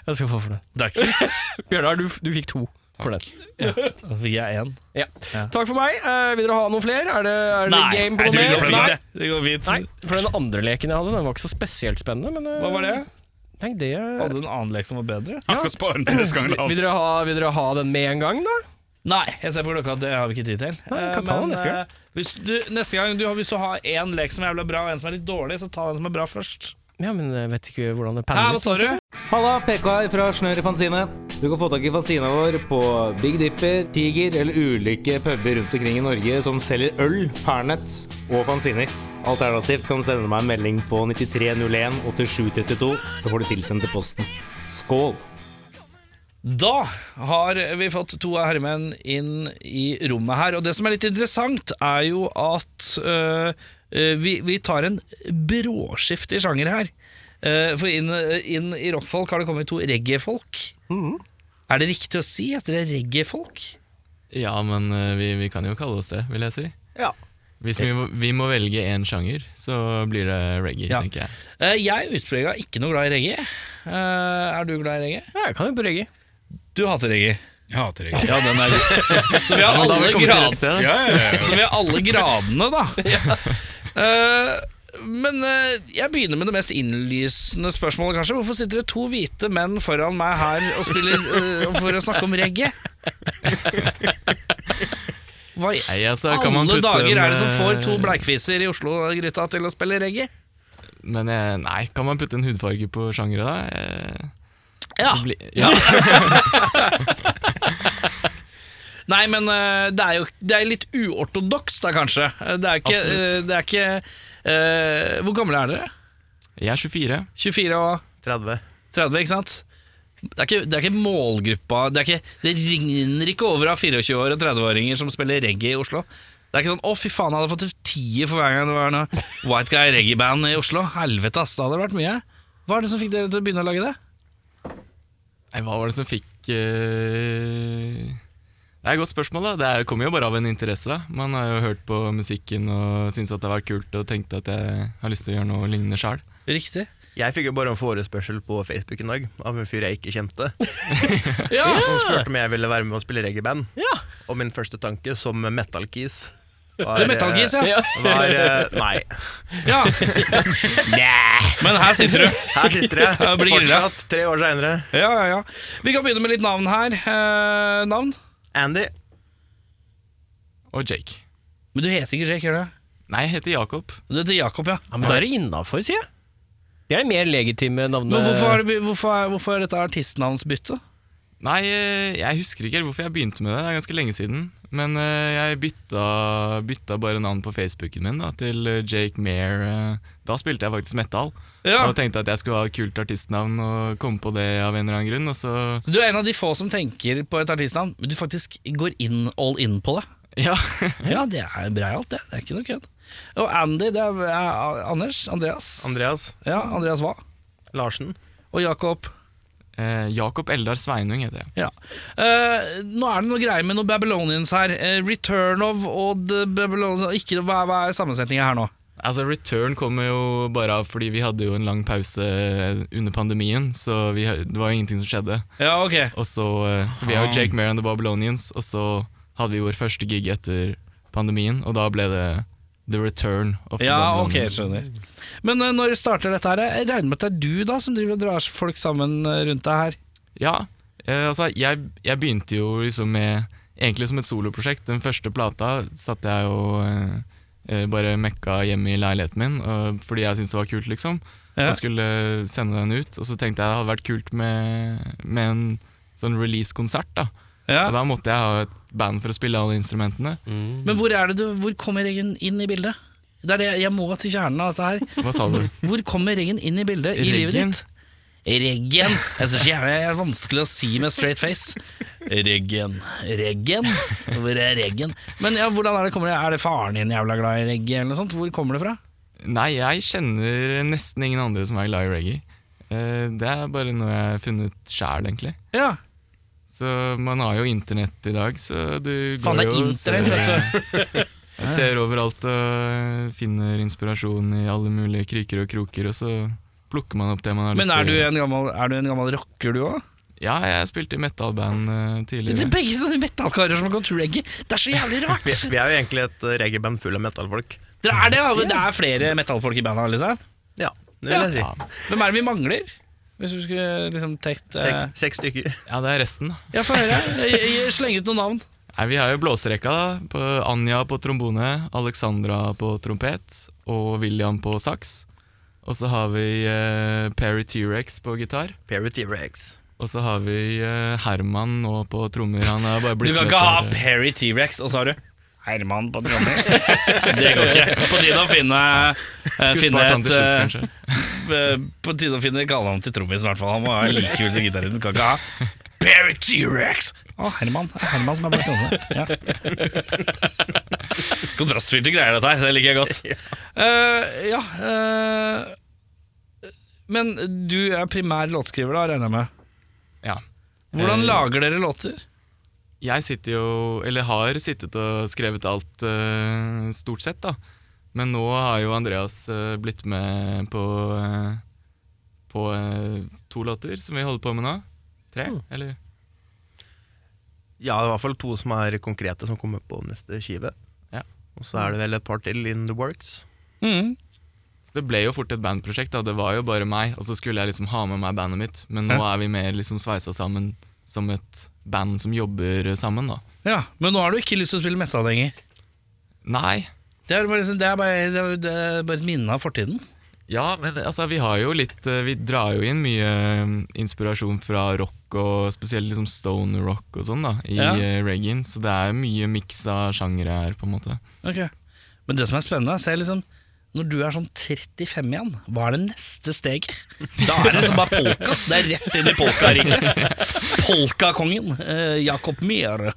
C: Jeg skal få for den.
A: Det er ikke
C: Bjørnar, du, f- du fikk to for den.
A: Vi er én.
C: Ja. Takk for meg. Eh, vil dere ha noen flere? Er det, er det game på
A: jeg tror
C: noe
A: det går
C: mer?
A: fint. det. Det går fint.
C: Nei, for den andre leken jeg hadde, den var ikke så spesielt spennende. Men, eh,
A: Hva var det?
C: Tenk det
A: Hadde du en annen lek som var bedre?
D: Han skal spare den neste gang.
C: vil dere, ha, vil dere ha den med en gang, da?
A: Nei, jeg ser på klokka at det har vi ikke tid til.
C: Nei, vi kan
A: Eh,
C: ta den
A: men,
C: neste gang.
A: eh, Hvis du, neste gang du, har- hvis du har én lek som er jævla bra og en som er litt dårlig, så ta den som er bra først.
C: Ja, men jeg vet ikke hvordan det
A: Hæ,
C: panner
A: hva
C: ut.
A: sa du?
E: Halla, PK her fra Snør i Fanzine. Du kan få tak i fanzina vår på Big Dipper, Tiger eller ulike puber rundt omkring i Norge som selger øl, pernett og fanziner. Alternativt kan du sende meg en melding på 9301 8732, så får du tilsendt til posten. Skål!
A: Da har vi fått to av herremenn inn i rommet her. Og det som er litt interessant, er jo at øh, øh, vi, vi tar en bråskift i sjanger her. Eh, for inn, inn i rockfolk har det kommet to reggae-folk.
F: Mm.
A: Er det riktig å si at dere er reggae-folk?
F: Ja, men eh, vi, vi kan jo kalle oss det, vil jeg si.
E: Ja.
F: Hvis vi, må- vi må velge én sjanger, så blir det reggae,
A: Ja.
F: tenker jeg.
A: Eh, jeg er utprega ikke noe glad i reggae. Eh, er du glad i reggae?
C: Ja, jeg kan jo på reggae.
A: Du hater reggae.
D: Jeg hater det ikke.
A: Ja, den er Så vi har
F: Men da har
A: alle
F: vi kommet til
A: grad...
F: rett sted. da.
D: Ja, ja, ja.
A: Så vi har alle gradene, da. Eh, men eh, jeg begynner med det mest innlysende spørsmålet, kanskje. Hvorfor sitter det to hvite menn foran meg her og spiller eh, for å snakke om reggae? Hva i
F: Nei, altså, kan man
A: alle
F: putte
A: dager er det som
F: en,
A: får to
F: eh,
A: bleikfiser i Oslo-gryta til å spille reggae?
F: Men eh, nei, kan man putte en hudfarge på sjangere, da? Eh,
A: Ja.
F: det blir- ja.
A: Nei, men eh, det er jo det er litt uortodokst da, kanskje. Eh, Det er ikke,
F: Absolutt.
A: eh, det er ikke eh, Hvor gamle er dere?
F: Jeg er 24.
A: 24 og
G: 30.
A: 30, ikke sant? Det er ikke, det er ikke målgruppa det, er ikke, det ringer ikke over av 24- år og 30-åringer som spiller reggae i Oslo. Det er ikke sånn 'Å, fy faen, jeg hadde fått en tier for hver gang det var noe White Guy reggae-band i Oslo'. Helvete, ass, det hadde vært mye. Hva er det som fikk dere til å begynne å lage det?
F: Nei, hva var det som fikk eh, Det er et godt spørsmål, da. Det er- kommer jo bare av en interesse, da. Man har jo hørt på musikken og syntes at det har vært kult, og tenkte at jeg har lyst til å gjøre noe lignende sjøl.
A: Riktig.
G: Jeg fikk jo bare en forespørsel på Facebook en dag av en fyr jeg ikke kjente.
A: Ja,
G: Som spurte om jeg ville være med og spille reggae-band.
C: Ja.
G: Og min første tanke som metal-keys var,
A: Det er Metallkis, ja.
C: Ja.
G: eh, Var, eh, nei.
A: ja. Men her sitter du.
G: Her sitter jeg
A: Ja, det blir grilla.
G: fortsatt, tre år seinere.
A: Ja, ja, ja. Vi kan begynne med litt navn her. Eh, navn?
G: Andy.
F: Og Jake.
A: Men du heter ikke Jake, gjør du? det?
F: Nei, jeg heter Jakob.
A: Du heter Jakob, ja.
C: Ja, men da er det innafor, sier jeg. Det er mer legitime navn.
A: Men hvorfor er, det, hvorfor er, hvorfor er dette artistnavnsbyttet?
F: Nei, eh, jeg husker ikke helt hvorfor jeg begynte med det. Det er ganske lenge siden. Men eh, jeg bytta, bytta bare navn på Facebooken min da, til eh, Jake Mare. eh. Da spilte jeg faktisk metal.
A: Ja.
F: Og tenkte at jeg skulle ha et kult artistnavn og komme på det av en eller annen grunn. Og så
A: Så du er en av de få som tenker på et artistnavn, men du faktisk går inn all in på det.
F: Ja.
A: Ja, det er breialt, det. Det er ikke noe kødd. Og Andy, det er er Anders. Andreas.
G: Andreas
A: Ja, Andreas hva?
G: Larsen.
A: Og Jakob.
F: Eh, Jakob Eldar Sveinung heter jeg.
A: Ja. Eh, nå er det noe greier med noen Babylonians her. Eh, Return of og The Babylonians ikke, hva, hva er sammensetninga her nå?
F: Altså Return kommer jo bare av fordi vi hadde jo en lang pause eh, under pandemien, så vi, det var jo ingenting som skjedde.
A: Ja, ok.
F: Og så, eh, så vi er jo Jake Mare and The Babylonians, og så hadde vi vår første gig etter pandemien, og da ble det The Return of
A: Ja,
F: The
A: ok,
F: Babylonians.
A: skjønner. Men eh, når starter dette her? Jeg regner med at det er du da som driver og drar folk sammen eh, rundt deg her?
F: Ja, eh, altså jeg, jeg begynte jo liksom med Egentlig som et soloprosjekt. Den første plata satte jeg jo eh, eh, bare mekka hjemme i leiligheten min og, fordi jeg syntes det var kult, liksom.
A: Ja.
F: Og skulle sende den ut. Og så tenkte jeg det hadde vært kult med, med en sånn release-konsert. da Og
A: Ja.
F: da måtte jeg ha et band for å spille alle instrumentene.
A: Men hvor, er det du, hvor kommer Reggen inn i bildet? Det er det, jeg må til kjernen av dette her.
F: Hva sa du?
A: Hvor kommer Reggen inn i bildet i livet
F: Reggen?
A: ditt? Reggen. Jeg synes ikke gjerne det er vanskelig å si med straight face. Reggen, Reggen. Hvor er Reggen? Men ja, hvordan er det kommer det? Er det faren din jævla glad i reggae eller noe sånt? Hvor kommer det fra?
F: Nei, jeg kjenner nesten ingen andre som er glad i reggae. Eh, Det er bare noe jeg har funnet sjæl, egentlig.
A: Ja,
F: Så man har jo internett i dag, så du går
A: faen det
F: jo
A: er
F: og
A: internett,
F: ser-
A: vet du.
F: Jeg ser overalt og finner inspirasjon i alle mulige kryker og kroker, og så plukker man opp det man har
A: Men er du
F: til.
A: en gammel, er du en gammel rocker du òg?
F: Ja, jeg spilte i metalband
A: Det
F: eh,
A: er
F: tidligere.
A: begge sånne metallkarer som har gått reggae. Det er så jævlig
G: Vi,
A: rart.
G: vi er jo egentlig et eh, reggae-band full av metallfolk.
A: Det er, det, da. det er flere metallfolk i bandet, liksom.
G: Ja, det vil jeg si.
F: Ja.
A: Hvem er det vi mangler? Hvis du skulle liksom tekt eh,
G: Seks, seks stykker.
F: Ja, det er resten, da.
A: Ja, få høre. Jeg- jeg- Sleng ut noen navn.
F: Nei, vi har jo blåserekka, da. På Anja på trombone, Alexandra på trompet og William på saks. Og så har vi eh, Perry T-rex på gitar.
G: Perry T-Rex.
F: Og så har vi eh, Herman nå på trommer. Han har bare blitt
A: Du kan
F: med
A: ikke ha
F: et par-
A: Perry T-rex, og så har du Herman på trommer. Det går ikke. På tide å finne, eh,
F: Skulle
A: finne
F: spart han
A: et
F: til slutt,
A: eh,
F: kanskje.
A: eh, På tide å finne kallenavn til trommisen, i hvert fall. Han må ha en like kul som gitaristen. Kan ikke ha Perry T-rex! Å, Herman. Det er Herman som er blant trommene. Ja. Kontrastfylte greier, dette her. Det liker jeg godt. Eh, ja eh, Men du er primær låtskriver, da, regner jeg med?
F: Ja.
A: Hvordan
F: Eh,
A: lager dere låter?
F: Jeg sitter jo, eller har sittet og skrevet alt eh, stort sett, da. Men nå har jo Andreas eh, blitt med på, eh, på eh, to låter som vi holder på med nå. Tre, eller?
G: Ja, det er i hvert fall to som er konkrete, som kommer på neste skive.
F: Ja.
G: Og så er det vel et par til in the works.
A: Mm.
F: Så det ble jo fort et bandprosjekt. da, Det var jo bare meg, og så skulle jeg liksom ha med meg bandet mitt. Men nå er vi mer liksom sveisa sammen som et band som jobber sammen, da.
A: Ja, Men nå har du ikke lyst til å spille metal lenger.
F: Nei.
A: Det er bare, liksom, det er bare, det er, det er bare et minne av fortiden.
F: Ja, men
A: eh,
F: altså, vi har jo litt eh, Vi drar jo inn mye eh, inspirasjon fra rock, og spesielt liksom stone rock og sånn, da, i
A: Ja.
F: eh, reggaen. Så det er mye miks av sjangere her, på en måte.
A: Ok. Men det som er spennende, så er liksom når du er sånn 35 igjen, hva er det neste steget? Da er det altså bare polka. Det er rett inn i polkariket. Polkakongen. eh, Jakob Mere.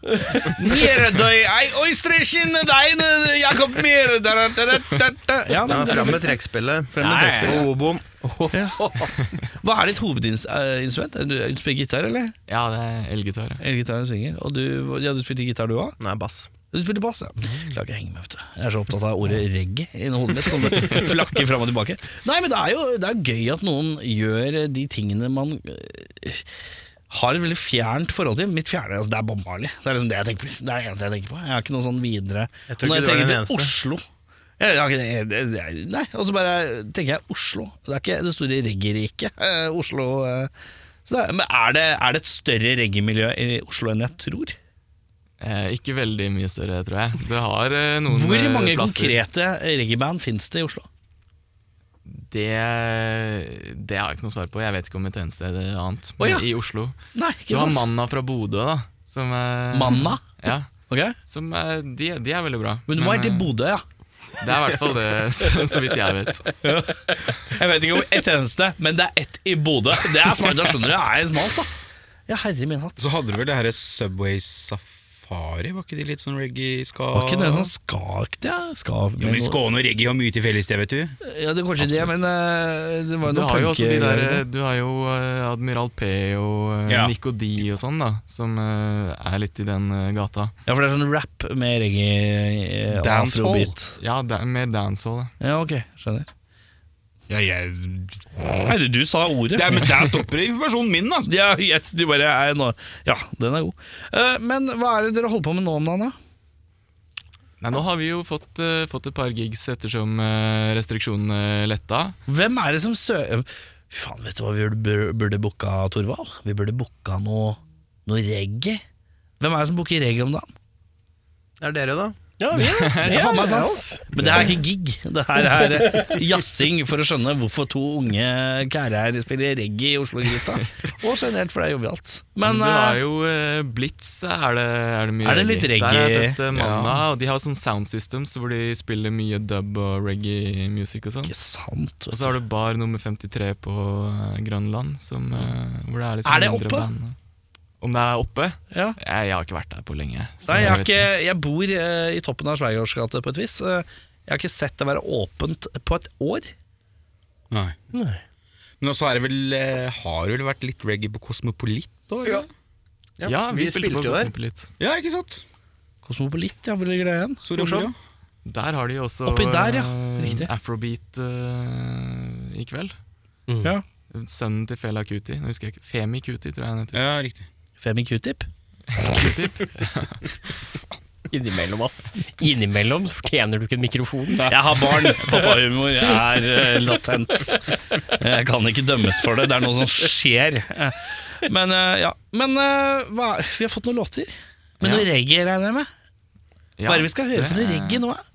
A: Mere døy, ei oystreskinne deine, Jakob Mere. Da, da, da, da, da. Ja,
G: Ja,
A: men,
G: Fram med trekkspillet.
A: Frem med
G: Ja, ja, ja.
A: trekkspillet.
G: Og oboen.
A: hva er ditt hovedinstrument? Du, du spiller gitar, eller?
F: Ja, det er elgitar. ja.
A: Eller gitar og synger. Og du, ja, du spilte gitar, du òg?
G: Nei, bass.
A: Du spilte bass, ja. Klarer ikke å henge med, vet du. Jeg er så opptatt av ordet reggae inni hodet mitt, som det flakker fram og tilbake. Nei, men det er jo det er gøy at noen gjør de tingene man øh, har et veldig fjernt forhold til. Mitt fjerne altså, det er Bob Marley. Det er liksom det jeg tenker på. Det er det eneste jeg tenker på. Jeg har ikke noe sånn videre
G: Jeg tror
A: Og Når
G: ikke du er
A: jeg
G: den
A: tenker
G: eneste.
A: til Oslo jeg, har ikke- det- det- Nei, og så bare tenker jeg Oslo. Det er ikke det store reggae-riket. eh, Oslo eh. så det, er- Men er det, er det et større reggae-miljø i Oslo enn jeg tror?
F: Eh, ikke veldig mye større, tror jeg. Det har eh, noen
A: Hvor
F: eh,
A: mange
F: plasser.
A: konkrete reggae-band finnes det i Oslo?
F: Det, det har jeg ikke noe svar på. Jeg vet ikke om et eneste annet
A: Å, ja.
F: i Oslo.
A: Nei,
F: Du
A: ikke
F: har
A: sant?
F: Manna fra Bodø, da. Som er,
A: Manna?
F: Ja,
A: Ok,
F: som er, de, de er veldig bra.
A: Men du må helt til
F: eh,
A: Bodø, ja.
F: Det er i hvert fall det, så, så vidt jeg vet.
A: Jeg vet ikke om ett eneste, men det er ett i Bodø. Det er smart, da skjønner du. Det er smalt, da. Ja, herre min hatt.
D: Så hadde du vel det her Subway Safari, var ikke de litt sånn reggae-ska?
A: Var ikke det sånn skakt, ja? Skav
D: Ja, men Skåne og reggae har mye til felles, det, vet du.
A: Ja, det er kanskje det, men eh, det var
F: Så Altså, du
A: noe
F: har jo også de der,
A: punke-
F: eh, du har jo eh, Admiral P og eh,
D: Ja.
F: Nico D og sånn, da, som eh, er litt i den eh, gata.
A: Ja, for det er sånn rap med reggae eh,
D: Dancehall.
A: afrobeat.
F: Ja, da, mer dancehall. da.
A: Ja, ok, skjønner.
D: Ja, jeg...
A: Nei, du, du sa ordet.
D: Der, men der stopper informasjonen min, altså!
A: Ja, yes, du bare er nå. Ja, den er god. Eh, men hva er det dere holder på med nå om dagen, da?
F: Nei, Nå har vi jo fått, eh, fått et par gigs ettersom eh, restriksjonene letta.
A: Hvem er det som sø... Fy faen, vet du hva vi burde- burde booka, Torvald? Vi burde booka noe, noe reggae. Hvem er det som booker reggae om dagen?
G: Det er dere, da.
C: Ja, vi er det. Er,
A: meg sant.
C: oss.
A: Men det her er ikke gig, det her er eh, jazzing for å skjønne hvorfor to unge kærer her spiller reggae i Oslo-gryta. Og generelt, for det er jovialt. Men
F: det var
A: eh,
F: jo eh, Blitz, er det, er det mye
A: Er det litt
F: Der har
A: reggae?
F: jeg sett eh, Manna, og de har sånn sound systems hvor de spiller mye dub og reggae music og sånn.
A: ikke sant.
F: Og
A: Vet
F: så
A: du.
F: har du bar nummer 53 på eh, Grønland, som, eh, hvor det er liksom
A: Er det
F: mindre
A: oppe?
F: band. Om det er oppe?
A: Ja.
F: Jeg, jeg har ikke vært der på lenge. så
A: Nei, jeg, har
F: vet
A: ikke, jeg bor eh, i toppen av Sveigårds gate på et vis. Eh, Jeg har ikke sett det være åpent på et år.
D: Nei.
C: Nei.
D: Men også er det vel, eh, har det vel vært litt reggae på Kosmopolit òg? Ja.
F: Ja, vi, spilte, på
G: jo der.
F: Kosmopolit.
D: ja, ikke sant?
A: Kosmopolit, ja, hvor ligger det igjen?
D: Soria
A: Morsomt.
D: Moria.
F: Der har de jo også
A: Oppi der, ja.
F: eh,
A: Riktig.
F: afrobeat eh, i kveld.
A: Ja.
F: Sønnen til Fela Kuti. Nå husker jeg ikke. Femi Kuti, tror jeg han heter.
D: Ja, riktig.
A: Femi Q-tip.
C: Innimellom, ass. Innimellom så fortjener du ikke en mikrofon.
A: Jeg har barn. Pappahumor er eh, latent. Jeg kan ikke dømmes for det. Det er noe som skjer. Eh, Men, eh, ja. Men eh, hva, vi har fått noen låter. Men noe reggae regner jeg med.
F: Ja,
A: Hva er det vi skal høre for noe
F: det er-
A: reggae nå? eh?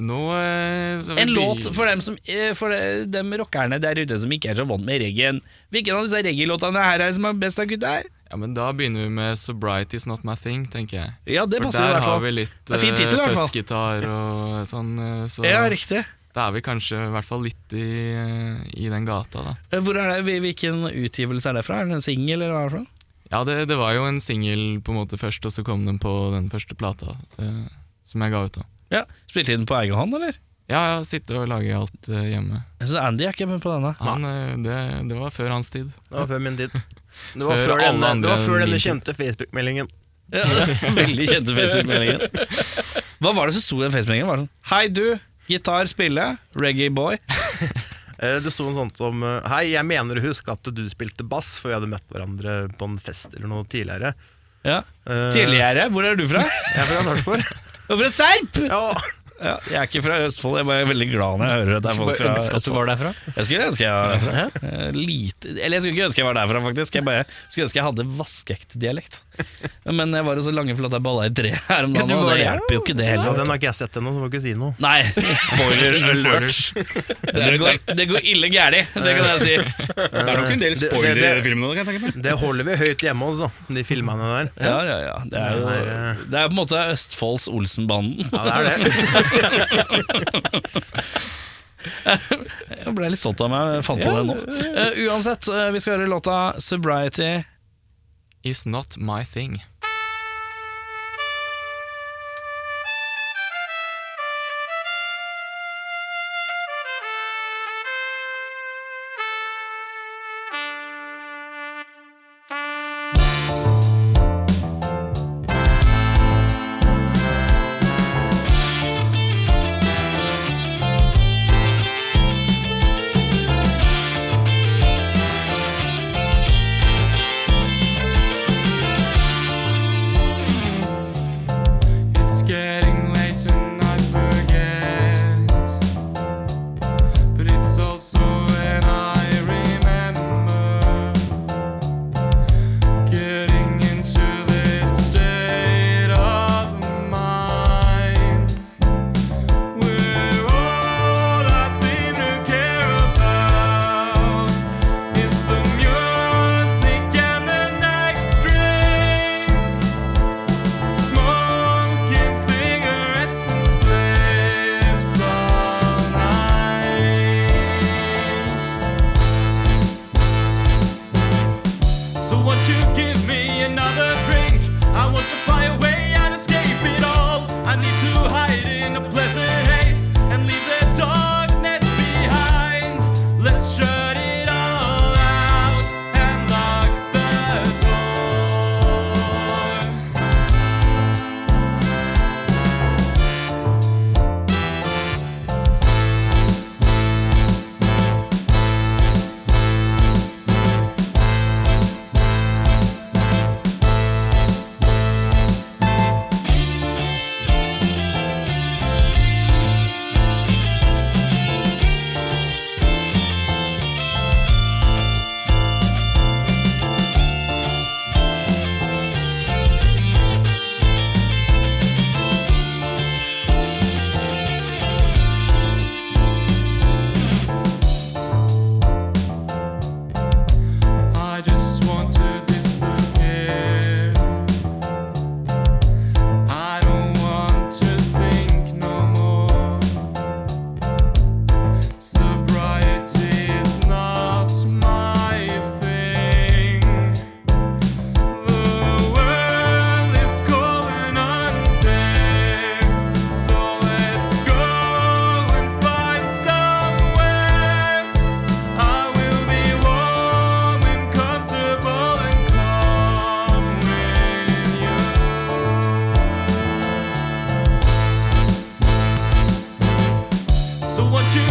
F: Nå eh, så
A: En
F: vi-
A: låt for dem, som, eh, for de- dem rockerne der ute som ikke er så vant med reggaen. Hvilken av disse reggae-låtene her er det som er best av gutta her?
F: Ja, men Da begynner vi med 'Sobriety's Not My Thing', tenker jeg.
A: Ja, det
F: For
A: passer jo i
F: der
A: hvert
F: har vi
A: fall.
F: litt
A: Det er fin titel i
F: eh,
A: hvert fall.
F: fuzz-gitar og sånn, eh, så
A: Ja, riktig.
F: da er vi kanskje i hvert fall litt i, eh, i den gata, da.
A: Eh, Hvor er det, hvilken utgivelse er det fra? Er det en singel, eller hva er det for noe?
F: Ja, det, det var jo en singel på en måte først, og så kom den på den første plata eh, som jeg ga ut, da.
A: Ja, Spilte de den på egen hånd, eller?
F: Ja, ja, sitte og lage alt eh, hjemme.
A: Jeg synes Andy er ikke med på denne.
F: Han, eh, det, det var før hans tid.
G: Det var før min tid. Det var
F: Før
G: før,
F: alle
G: denne,
F: andre
G: det var før
F: enn
G: denne
F: min tid.
G: kjente Facebook-meldingen.
A: Ja, veldig kjente Facebook-meldingen. Hva var det som sto i den Facebook-meldingen? Var det sånn Hei, du. Gitar, spille. Reggae boy.
G: Eh, Det sto en sånn som eh, Hei, jeg mener å huske at du spilte bass før vi hadde møtt hverandre på en fest eller noe tidligere.
A: Ja.
G: Eh,
A: Tidligere. Hvor er du fra?
G: Jeg er fra Sarpsborg.
A: Du er fra Serp!
G: Ja,
A: Ja, jeg er ikke fra Østfold. Jeg er bare veldig glad når jeg hører at det er folk fra
C: Ønske at du
A: Østfold.
C: var derfra.
A: Jeg skulle ønske jeg var derfra. Eh, Lite Eller jeg skulle ikke ønske jeg var derfra, faktisk. Jeg bare skulle ønske jeg hadde vaskeekte dialekt. Men jeg var jo så lange flate baller i tre her om dagen,
C: du
A: og det
C: var det, ja.
A: hjelper jo ikke det
G: ja
A: heller.
G: Den har ikke jeg sett ennå, så får ikke si noe.
A: Nei, spoiler alert. Det går, det går ille gæli, det kan jeg si.
D: Det er nok en del
G: Det- det-
D: spoilere i
G: det-
D: filmen nå, kan jeg tenke meg.
G: Det holder vi høyt hjemme hos, da, de filmene der.
A: Ja, ja, ja. Det er eh, jo det er på en måte Østfolds Olsenbanden.
G: Ja, det er det.
A: Jeg ble litt stolt av meg, jeg fant på det nå. Eh, uansett, eh, vi skal høre låta 'Sobriety'.
F: Is Not My Thing.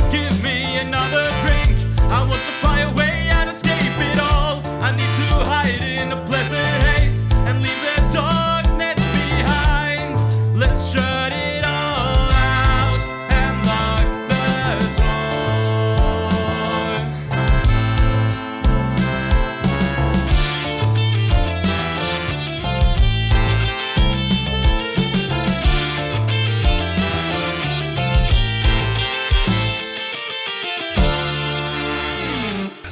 H: another drink. I want to fly away and escape it all. I need to hide in a pleasant haze and leave the darkness behind. Let's shut it all out and lock the door.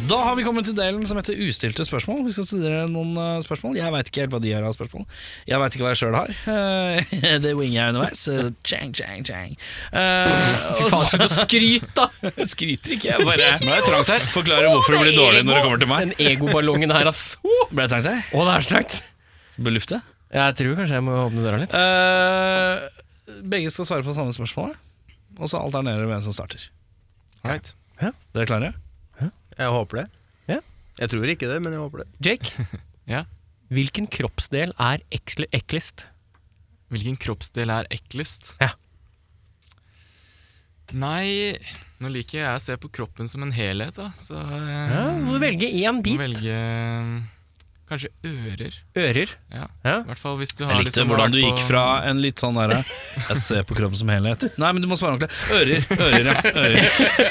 A: Da har vi kommet til delen som heter ustilte spørsmål. Vi skal studere noen eh, spørsmål. Jeg veit ikke helt hva de har av spørsmål. Jeg veit ikke hva jeg sjøl har. Eh, det winger jeg underveis. Eh, Chang, chang, chang. Uh,
C: Slutt å skryte, da!
A: Jeg skryter ikke, jeg bare forklarer hvorfor det blir dårlig når det kommer til meg.
C: Den egoballongen her, ass. Å,
A: Ble det trangt her?
C: det er strengt.
A: Ble luftet?
C: Jeg tror kanskje jeg må åpne døra litt.
A: Eh, begge skal svare på samme spørsmål, og så alternerer vi hvem som starter.
F: Right.
A: Dere klare?
G: Jeg håper det.
C: Ja.
G: Jeg tror ikke det, men jeg håper det.
C: Jake,
F: Ja.
C: hvilken kroppsdel er eksle- eklest?
F: Hvilken kroppsdel er eklest?
C: Ja.
F: Nei Nå liker jeg å se på kroppen som en helhet, da, så eh,
A: Ah.
C: Ja, må du velge én
F: må
C: bit.
F: velge eh, kanskje ører.
C: Ører.
F: Ja.
C: Ja.
F: I hvert fall hvis du har
A: Jeg likte
F: liksom vært
A: hvordan du
F: på-
A: gikk fra en litt sånn derre Jeg ser på kroppen som helhet. Nei, men du må svare ordentlig. Ører. Ører, ja. Ører.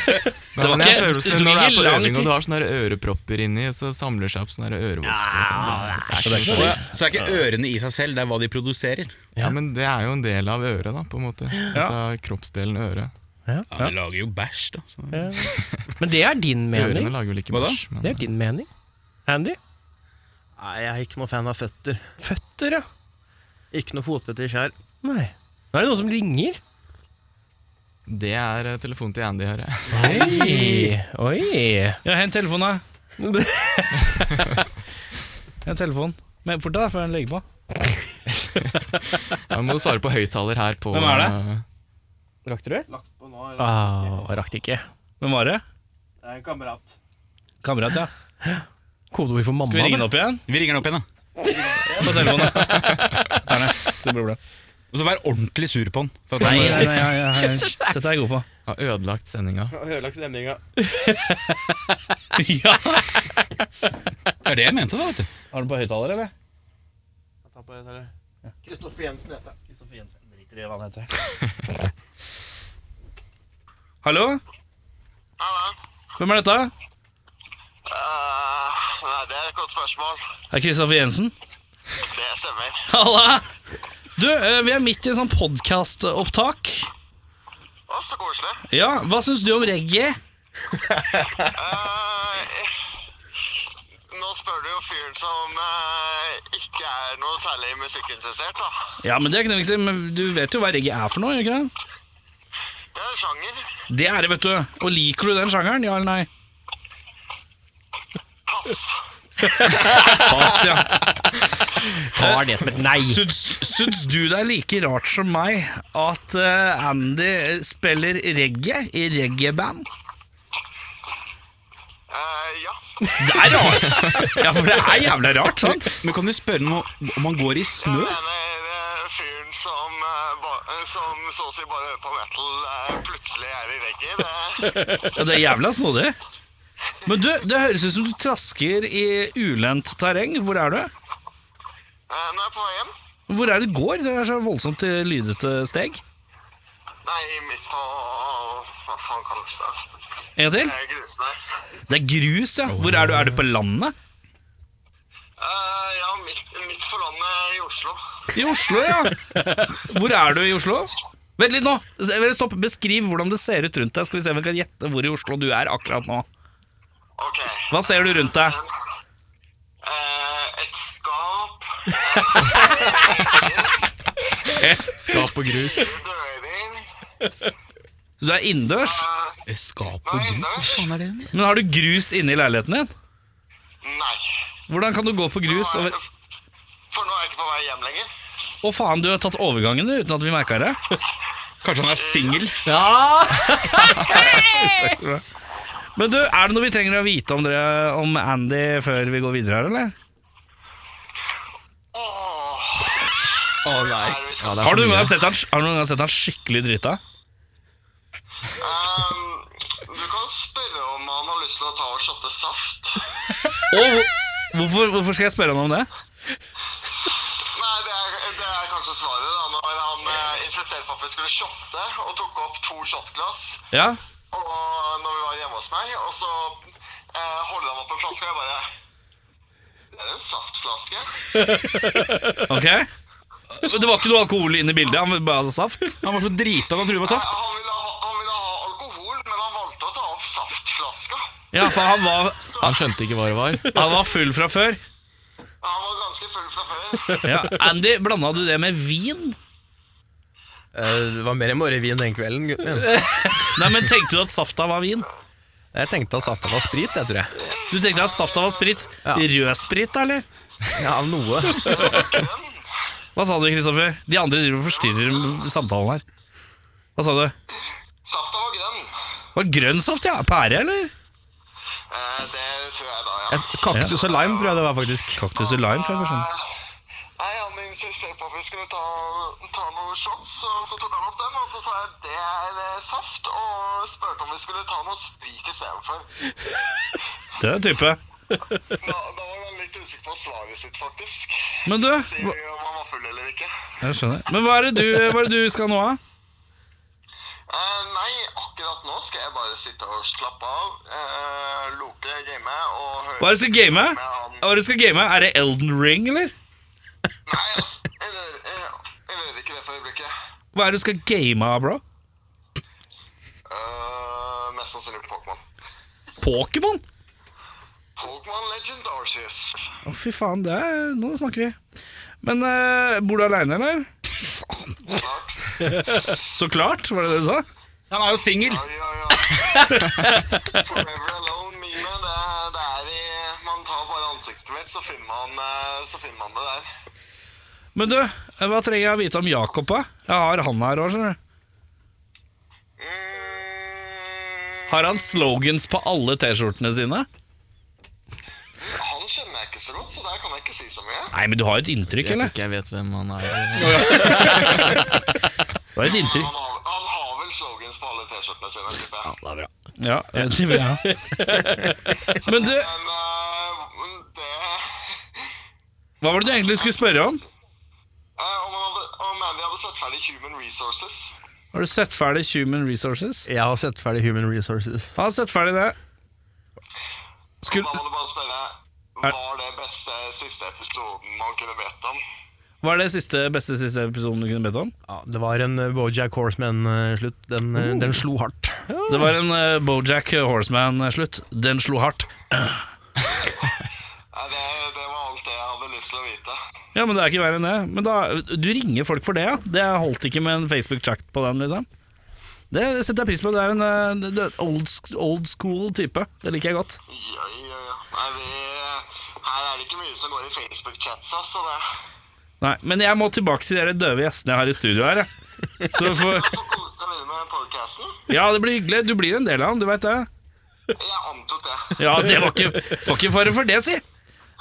F: Nei,
A: Det var
F: men jeg
A: ikke-
F: føler
A: det
F: seg-
A: tok
F: Når du er
A: ikke
F: på
A: lang
F: øving og
A: tid.
F: du har sånne der ørepropper inni, så samler seg opp sånne der ørevokser. og sånn. Det er ikke
D: Så,
F: noe
D: det, så er ikke ørene i seg selv, det er hva de produserer.
F: Ja, men det er jo en del av øret, da, på en måte. Altså kroppsdelen øre.
D: Ja, De lager jo bæsj, da. Så.
C: Ja. Men det er din
F: Ørene
C: mening.
F: lager vel ikke
D: Hva da?
F: bæsj. men-
C: Det er din mening. Andy?
G: Nei, jeg er ikke noe fan av føtter.
C: Føtter, ja.
G: Ikke noe fotete kjær.
C: Nei. Nå er det noen som ringer.
F: Det er eh, telefonen til Andy, hører jeg.
C: Oi. Oi.
A: Ja, hent telefonen, da. Hent telefonen. Men fort deg, før den legger på.
F: Jeg må svare på høyttaler her på
A: Hvem er det?
F: eh,
C: Rakk du det? Ah, rakk det ikke.
A: Hvem var det?
F: Ah.
G: Det er en kamerat.
A: Kamerat, ja.
C: Kodeord for mamma.
A: Skal vi ringe den
C: da.
A: opp igjen?
D: Vi ringer den opp igjen, da.
A: På telefonen. ja. Der, ja. Det blir bra.
D: Og så vær ordentlig sur på den. For at
A: Nei,
D: han,
A: nei, nei, nei, nei, nei. Dette er jeg god på.
F: Har ødelagt sendinga.
G: Ødelagt stemninga.
A: Ja.
D: det er det jeg mente, da. vet du
A: Har du på høyttaler, eller?
G: Kristoffer Jensen heter jeg.
A: Hallo? Hvem er dette?
I: Eh, nei, det er et godt spørsmål.
A: Er Kristoffer Jensen?
I: Det stemmer.
A: Halla! Du, eh, vi er midt i en sånn podkastopptak.
I: Å, så koselig.
A: Ja, hva syns du om reggae?
I: Eh, nå spør du jo fyren som eh, ikke er noe særlig musikkinteressert, da.
A: Ja, men det er ikke noe viktig, men du vet jo hva reggae er for noe? gjør ikke Det
I: Det er en sjanger.
A: Det er det, vet du. Og liker du den sjangeren? Ja eller nei?
I: Pass.
A: Pass, ja.
C: Tar det som et nei.
A: Syns, syns du det er like rart som meg at eh, Andy spiller reggae i reggae-band?
I: Eh, ja.
A: Det er rart! Ja, for det er jævla rart, sant?
D: Men kan du spørre om, om han går i
I: Jeg
D: snø?
I: mener eh, fyren som, eh, ba, som så å si bare hører på metal, eh, plutselig er i eh. reggae. Det,
A: Ja, det er jævla snodig. Men du, det høres ut som du trasker i ulendt terreng. Hvor er du?
I: eh, nå er jeg på vei hjem.
A: Hvor er det det går? Det er så voldsomt eh, lydete steg.
I: Nei, midt på Hva faen kalles det?
A: En gang til.
I: Det er grusen her.
A: Det er grus, ja. Hvor er du? Er du på landet?
I: Eh, ja, midt, midt for landet i Oslo.
A: I Oslo, ja. Hvor er du i Oslo? Vent litt nå. Stopp. Beskriv hvordan det ser ut rundt deg. Skal vi se om vi kan gjette hvor i Oslo du er akkurat nå.
I: Ok.
A: Hva ser du rundt deg?
I: Eh, et skap,
F: Skap og grus.
I: dører
A: Så du er innendørs,
I: Eh,
D: Eh, Skap og grus?
I: Nei,
D: Hva
I: innendørs.
D: faen er det igjen? liksom?
A: men har du grus inne i leiligheten din?
I: Nei.
A: Hvordan kan du gå på grus
I: Nå er-
A: over
I: For nå er jeg ikke på vei hjem lenger.
A: Å, faen, du har tatt overgangen du, uten at vi merka det.
D: Kanskje han er singel?
A: Men du, er det noe vi trenger å vite om dere, om Andy, før vi går videre her, eller?
I: Åh,
D: nei.
I: er det vi skal
F: det er
A: Har du
F: for
A: noen
F: mye.
A: gang sett han, har du noen gang sett han skikkelig drita?
I: Ehm, Um, Du kan s- lyst til å ta og shotte saft.
A: Og hvor- hvorfor, hvorfor skal jeg spørre han om det?
I: Nei, det er, det er kanskje svaret, da. Når han eh, insisterte på at vi skulle shotte, og tok opp to shotglass
A: Ja,
I: og når vi var hjemme hos meg, og så eh, holdt han opp en flaske, og jeg bare Det er en saftflaske.
A: ok Det var ikke noe alkohol inne i bildet, han ville bare ha saft
D: Han var så drita at han trodde det var
I: Ja,
D: saft.
I: Han ville, ha, han ville ha alkohol, men han valgte å ta opp saftflaska.
A: Ja, for han var,
F: Han skjønte ikke hva det var.
A: han var full fra før
I: Ja, Han var ganske full fra før.
A: ja. Andy, blanda du det med vin?
G: Eh, Det var mer enn bare vin den kvelden. gutten min.
A: Nei, men tenkte du at safta var vin?
G: Jeg tenkte at safta var sprit, jeg tror jeg.
A: Du tenkte at safta var sprit? Rød sprit, da, eller?
G: Ja, av noe.
A: Hva sa du, Kristoffer? De andre driver og forstyrrer samtalen her Hva sa du?
I: Safta var grønn.
A: Var det grønn saft, ja? Pære, eller?
I: Eh, det tror jeg da, ja.
G: Et Kaktus og lime tror jeg det var, faktisk.
A: Kaktus og lime, for jeg skjønner
I: Eh, Nei, Han insisterte på at vi skulle ta, ta noen shots, og så tok han opp dem. Og så sa jeg det er eh, saft, og spurte om vi skulle ta noe sprit istedenfor.
A: Det er en type
I: Da, da var han litt usikker på svaret sitt, faktisk.
A: Men du,
I: Sier
A: hva-
I: vi om han var full eller ikke.
A: jeg skjønner Men hva er det du, hva er det du skal nå av?
I: Eh, nei, akkurat nå skal jeg bare sitte og slappe av, eh, loke, game og høre
A: Hva er det du skal game?
I: med han.
A: Hva er det du skal game? Er det Elden Ring, eller?
I: Nei, altså, jeg rører- jeg jeg rører ikke det for øyeblikket.
A: Hva er det du skal game av, bro?
I: Eh, mest sannsynlig Pokémon.
A: Pokémon?
I: Pokémon Legend Arceus.
A: Å, fy faen, det er Nå snakker vi. Men eh, bor du aleine, eller?
I: Klart.
A: Så klart, var det det du sa?
D: Han er jo singel.
I: Oi, oi, oi. Forever Alone-memet, det, det er i Man tar bare ansiktet mitt, så finner man, eh, så finner man det der.
A: Men du, eh, hva trenger jeg å vite om Jakob, da? Jeg har han her òg, skjønner du.
I: Mm,
A: Har han slogans på alle T-skjortene sine?
I: han kjenner jeg ikke så godt, så der kan jeg ikke si så mye.
A: Nei, men du har et inntrykk,
F: Jeg tror
A: eller?
F: ikke jeg vet hvem han er.
A: Du har et inntrykk.
I: Han har, han har vel slogans på alle T-skjortene sine, tipper jeg.
A: Ja, jeg tror jeg har. Men du,
I: Men eh, det
A: hva var det du egentlig skulle spørre om?
I: Eh, om, han hadde, om Andy hadde sett ferdig Human Resources.
A: Har du sett ferdig Human Resources?
G: Jeg har sett ferdig Human Resources.
A: Jeg har sett ferdig det.
I: Da
A: Skulle,
I: må du bare spørre Var det beste siste episoden man kunne bedt om?
A: var det siste, beste siste episoden du kunne bedt om?
G: Ja, det var en eh, Bojack Horseman-slutt. Den, eh, den slo hardt.
A: Det var en eh, Bojack Horseman-slutt. Den slo hardt.
I: Nei, Eh, det, det var alt det jeg hadde lyst til å vite.
A: Ja, men det er ikke verre enn det. Men da, du ringer folk for det, ja? Det holdt ikke med en Facebook-chat på den, liksom? Det setter jeg pris på. Det er en eh, det- det er old, sk- old school type. Det liker jeg godt.
I: Ja, ja, ja. Nei, vi, her er det ikke mye som går i Facebook-chats, altså. Det.
A: Nei, men jeg må tilbake til de døve gjestene jeg har i studio her. jeg. Så for,
I: Du får kose deg videre med podcasten.
A: ja, det blir hyggelig. Du blir en del av den, du veit det.
I: Jeg antok det.
A: Ja, det var ikke, var ikke fare for det, si.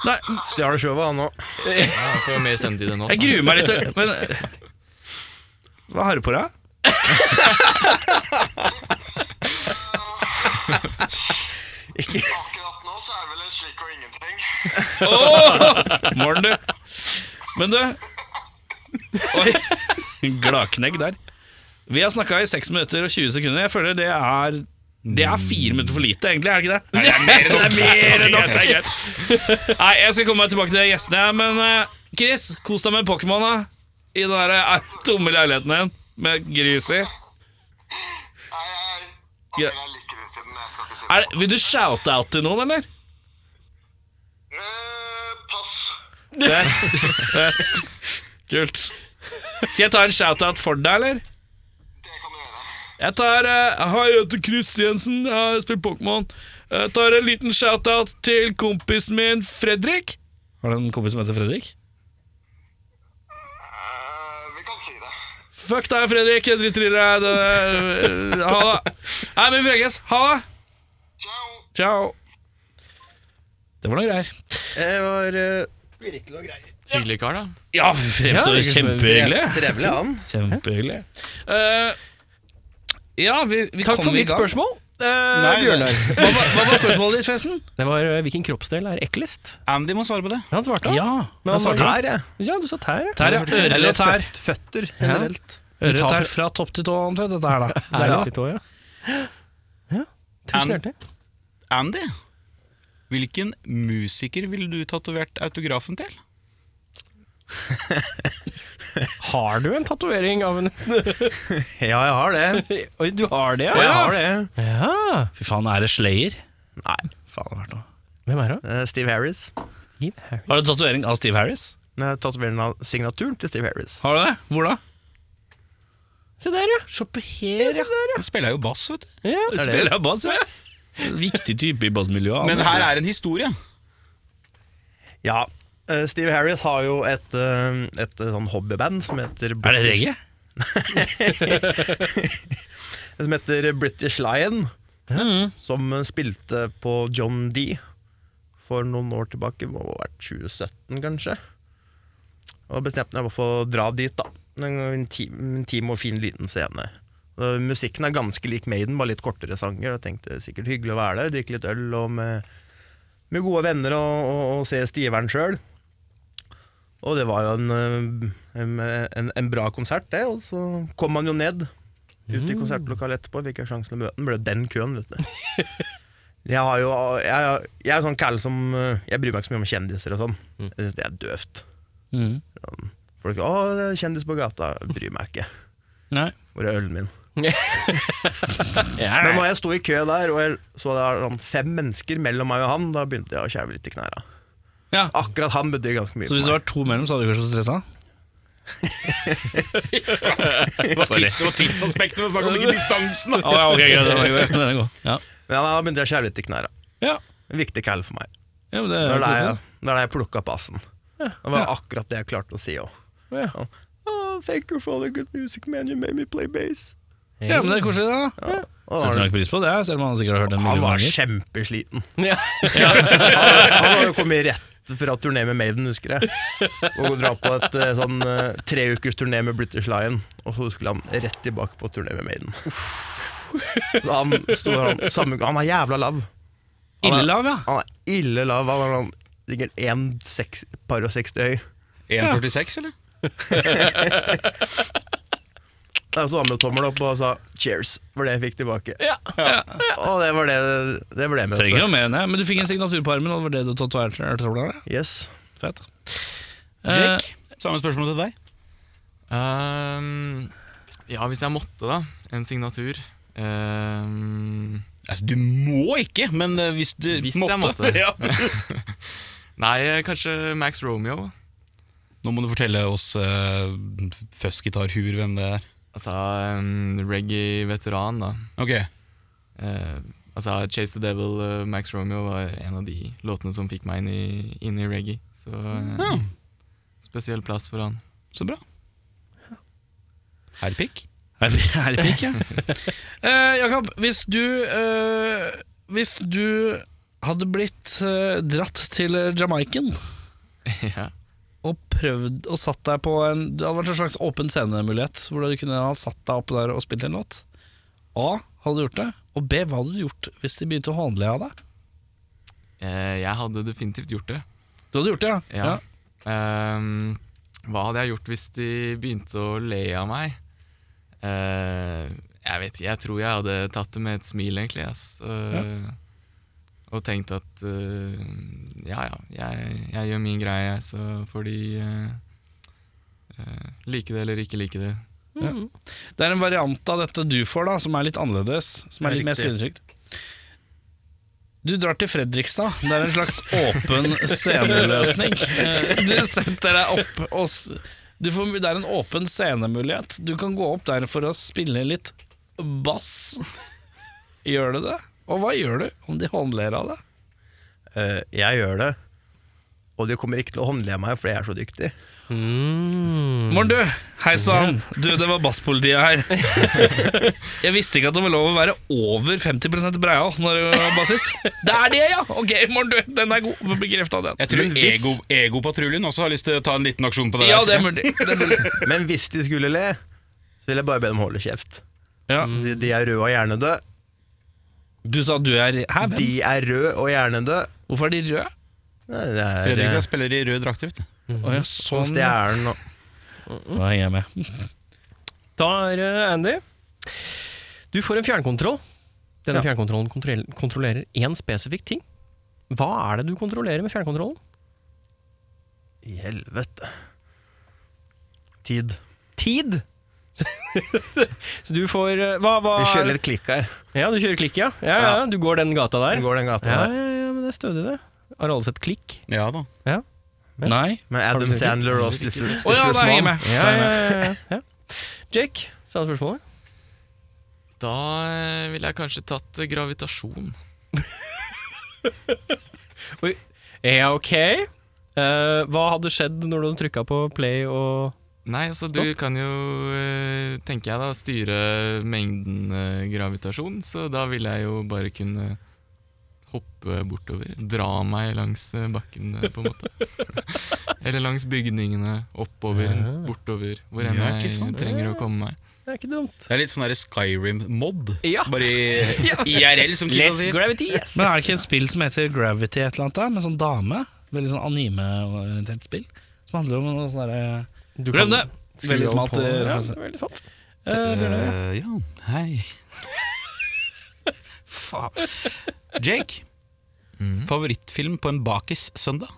A: Nei,
G: Stjal showet, han òg.
F: Han får mer sendetid enn
A: jeg
F: oss.
A: gruer meg litt. til- Men hva har du på deg?
I: Akkurat nå så er det vel en slikk og ingenting.
A: Morn, du. Men du Oi. Gladknegg der. Vi har snakka i 6 minutter og 20 sekunder. Jeg føler det er det er fire minutter for lite, egentlig. er det ikke det? Nei, det er mer enn nok. det er greit. Nei, jeg skal komme meg tilbake til gjestene, men eh, Chris, kos deg med Pokémon da, i den der eh, tomme leiligheten din med grus i.
I: Nei, jeg, ok,
A: Ja.
I: det er litt grunn siden. Jeg skal ikke si
A: Er det- Vil du shout-out til noen, eller?
I: Eh, pass.
A: Fett. Fett. Kult. Skal jeg ta en shout-out for deg, eller?
I: Det kan du gjøre.
A: Jeg tar eh, Hei, jeg heter Chris Jensen. Jeg har spilt Pokémon. Jeg tar en liten shout-out til kompisen min Fredrik. Har du en kompis som heter Fredrik?
I: Eh, vi kan si det.
A: Fuck deg, Fredrik. Jeg driter i deg. Det- Ha det. Nei, men vi prekes. Ha det.
I: Ciao!
A: Ciao. Det var noe greier.
G: Jeg var eh,
F: Hyggelig kar, da.
A: Ja, frem så kjempehyggelig.
G: trevlig, han.
A: Kjempehyggelig. Eh, ja, vi, vi
C: Takk
A: kom
C: for
A: i
C: mitt
A: gang.
C: spørsmål.
A: Eh,
D: Bjørnar.
A: hva, var- hva var spørsmålet ditt, Festen?
C: Det var eh, hvilken kroppsdel er eklest?
D: Andy må svare på det.
C: Han svarte.
A: Ja,
C: Men han var-
G: Tær, jeg.
C: Ja, du sa tær. ja.
A: Tær, ja. Ører
G: Eller
A: og tær.
G: føt- føtter, generelt.
A: Ører og tær fra topp til tå, omtrent. Dette her, da.
C: Det er
G: Ja.
C: litt i tå, ja. ja. Tusen
D: And-
C: hjertelig.
D: Andy, hvilken musiker ville du tatovert autografen til?
C: Har du en tatovering av en
G: Ja, jeg har det.
C: Oi, du har det,
G: Jeg
C: ja?
G: har det.
C: ja.
A: Fy faen, er det Slayer?
G: Nei.
A: Faen, det har vært noe.
C: Hvem er det?
G: Eh, Steve Harris.
C: Steve Harris.
A: Har du tatovering av Steve Harris?
G: Jeg Tatoverer na- signaturen til Steve Harris.
A: Har du det? Hvor da?
C: Se der, ja.
A: Se på her, ja.
D: Han spiller jo bass, vet du.
C: ja.
A: Du spiller jeg bass, ja. En Viktig type i bassmiljøet.
D: Men her er en historie.
G: Ja, eh, Steve Harris har jo et, eh, et eh, sånn hobbyband som heter
A: Er det reggae?
G: som heter British Lion,
A: Mhm.
G: som eh, spilte på John D for noen år tilbake, må ha vært 2017 kanskje. Og bestemte meg for å dra dit, da. En intim, intim og fin liten scene. Og musikken er ganske lik Maiden, bare litt kortere sanger. Og jeg tenkte sikkert hyggelig å være der, drikke litt øl og med, med gode venner og, og, og se stiveren sjøl. Og det var jo en, eh, en, en, en bra konsert, det. Og så kom han jo ned ut
A: Mm.
G: i konsertlokalet etterpå. Fikk jeg sjansen til å møte ham. Ble den køen, vet du. Jeg, har jo, jeg, jeg er sånn kall som eh, Jeg bryr meg ikke så mye om kjendiser og sånn.
A: Mm.
G: Jeg syns det er døvt. Sånn,
A: Mhm.
G: Folk 'Å, det er kjendis på gata'. Jeg bryr meg ikke.
A: Nei.
G: Hvor er ølen min?
C: Ja.
G: Men når jeg sto i kø der, og jeg så det var sånn fem mennesker mellom meg og han, da begynte jeg å skjelve litt i knærne.
A: Ja.
G: Akkurat han betydde ganske mye
A: Så hvis
G: for
A: det
G: meg.
A: var to mellom, så hadde du ikke vært så stressa?
D: Det var tids- det var tidsaspektet, vi snakker om ikke distansen. da.
A: Oh, ja, ok, greit, den er god, den er god. Ja.
G: Men da begynte jeg å skjelve litt i knærne.
A: Ja.
G: En viktig kall for meg.
A: Ja, men det
G: Det
A: er
G: var der
A: jo
G: jeg, det var der jeg plukka opp assen. Det var akkurat det jeg klarte å si òg.
C: Ja.
G: thank you for all the good music, man. You made me play bass.
A: Ja, men det er koselig, det. da
G: Og
A: Setter
G: han,
A: nok pris på det, selv om han sikkert har hørt det en
G: han
A: million
G: var
A: ganger.
G: kjempesliten.
C: Ja.
G: Han hadde jo kommet rett fra turné med Maiden, husker jeg. Og dra på et eh, sånn eh, tre ukers turné med British Lion, og så skulle han rett tilbake på turné med Maiden. Så han sto der, han, samme, han er jævla lav. Han er-
A: Illehav, ja.
G: Han er ille lav. Han er sånn sikkert 1,60 høy.
D: 1,46, eller?
G: Da sto han med tommel sånn opp og sa 'cheers', var det jeg fikk tilbake.
C: Ja.
G: Og det var det det ble med.
A: Trenger ikke noe mer enn det. Men du fikk en signatur på armen, og det var det du tatoverte?
G: Yes.
A: Fett.
D: Jake, samme spørsmål til deg.
F: Ehm, ja, hvis jeg måtte, da. En signatur. Ehm,
D: Altså, du må ikke, men eh, hvis du
F: hvis
D: måtte.
F: jeg måtte.
D: Ja.
F: Nei, kanskje Max Romeo.
D: Nå må du fortelle oss uh, fuzzgitarhuer hvem det er.
F: Altså ehm, reggae-veteran, da.
D: Ok,
F: Eh, altså Chase the Devil, eh, Max Romeo var en av de låtene som fikk meg inn i, inn i reggae. Så eh,
D: Ja.
F: spesiell plass for han.
D: så bra. Herpikk?
A: Herpikk, ja. Eh, Jakob, hvis du eh, Hvis du hadde blitt eh, dratt til Jamaican
F: ja.
A: og prøvd og satt deg på en Det hadde vært en slags åpen scenemulighet, hvor du kunne ha satt deg oppe der og spilt en låt. A. Hadde du gjort det? Og B. Hva hadde du gjort hvis de begynte å håndle av deg?
F: Eh, jeg hadde definitivt gjort det.
A: Du hadde gjort det, ja?
F: Ja. Ehm, hva hadde jeg gjort hvis de begynte å le av meg? Eh, jeg vet ikke, jeg tror jeg hadde tatt det med et smil, egentlig. Ass. Eh, Og tenkt at eh, ja, ja, jeg, jeg gjør min greie, jeg, så får de eh, eh, like det eller ikke like det.
A: Det er en variant av dette du får, da, som er litt annerledes. Som er litt mer skreddersykt. Du drar til Fredrikstad. Det er en slags åpen sceneløsning. Eh, Du setter deg opp og s- du får, Det er en åpen scenemulighet. Du kan gå opp der for å spille litt bass. Gjør du det? Og hva gjør du om de håndler av deg?
G: Eh, jeg gjør det. Og de kommer ikke til å håndle meg, for jeg er så dyktig.
A: Morn, du. Hei sann. Du, det var basspolitiet her. Jeg visste ikke at det var lov å være over 50 breial når du var bassist. Det er det, ja! Ok, morn, du. Den er god. Få bekrefta den.
D: Jeg tror
G: Men hvis-
D: ego, Egopatruljen også har lyst til å ta en liten aksjon på det.
A: Ja,
D: der.
A: det er mulig. Det er mulig.
G: Men hvis de skulle le, så ville jeg bare be dem holde kjeft.
A: Ja.
G: Si, De er røde og hjernedøde.
A: Mm. Du sa du er Hæ, hvem?
G: De er røde og hjernedøde.
A: Hvorfor er de røde?
G: Nei, Det er
D: Fredrik
G: eh,
D: han spiller i rød drakt. vet du.
A: Å ja, sånn.
G: stjernen og
A: Da er jeg med.
C: Da er det Andy. Du får en fjernkontroll. Denne fjernkontrollen kontroll- kontrollerer én spesifikk ting. Hva er det du kontrollerer med fjernkontrollen?
G: I helvete. Tid.
C: Tid! Så du får eh, Hva, hva
G: Vi
C: er-
G: kjører litt klikk her.
C: Ja, du kjører klikk, ja. Ja, ja. Du går den gata der.
G: Vi går den gata
C: ja,
G: der.
C: ja, ja, men det er stødig, det. Har alle sett klikk?
D: Ja da.
A: Nei?
G: Med
C: du
G: Adam
C: sett det?
G: Sandler og Stifler
A: Å ja, da er jeg med.
C: Ja, ja, ja, ja. Jake, samme spørsmålet.
F: Da eh, ville jeg kanskje tatt eh, gravitasjon.
C: Ja, ok. Eh, hva hadde skjedd når du trykka på play og
F: Nei, altså du kan jo, eh, tenker jeg da, styre mengden eh, gravitasjon, så da vil jeg jo bare kunne hoppe bortover. Dra meg langs eh, bakken, eh, på en måte. Eller langs bygningene, oppover, bortover, hvor enn
D: Ja, ikke
F: jeg
D: sant?
F: trenger å komme meg.
C: Det er ikke dumt.
D: Det er litt sånn der Skyrim-mod.
C: Ja.
D: Bare i IRL, som Kristian
C: Less
D: sier.
C: gravity, yes!
A: Men er det ikke et spill som heter Gravity et eller annet der, med sånn dame? Veldig sånn anime-orientert spill. Som handler om noe sånn derre
C: Du
A: Glem det!
C: kan skru
A: Veldig
C: av
A: smalt.
C: på-
A: eh,
C: Ja,
A: referanse.
C: veldig smalt.
D: Eh, ja, hei. Faen. Jake, favorittfilm på en bakis søndag?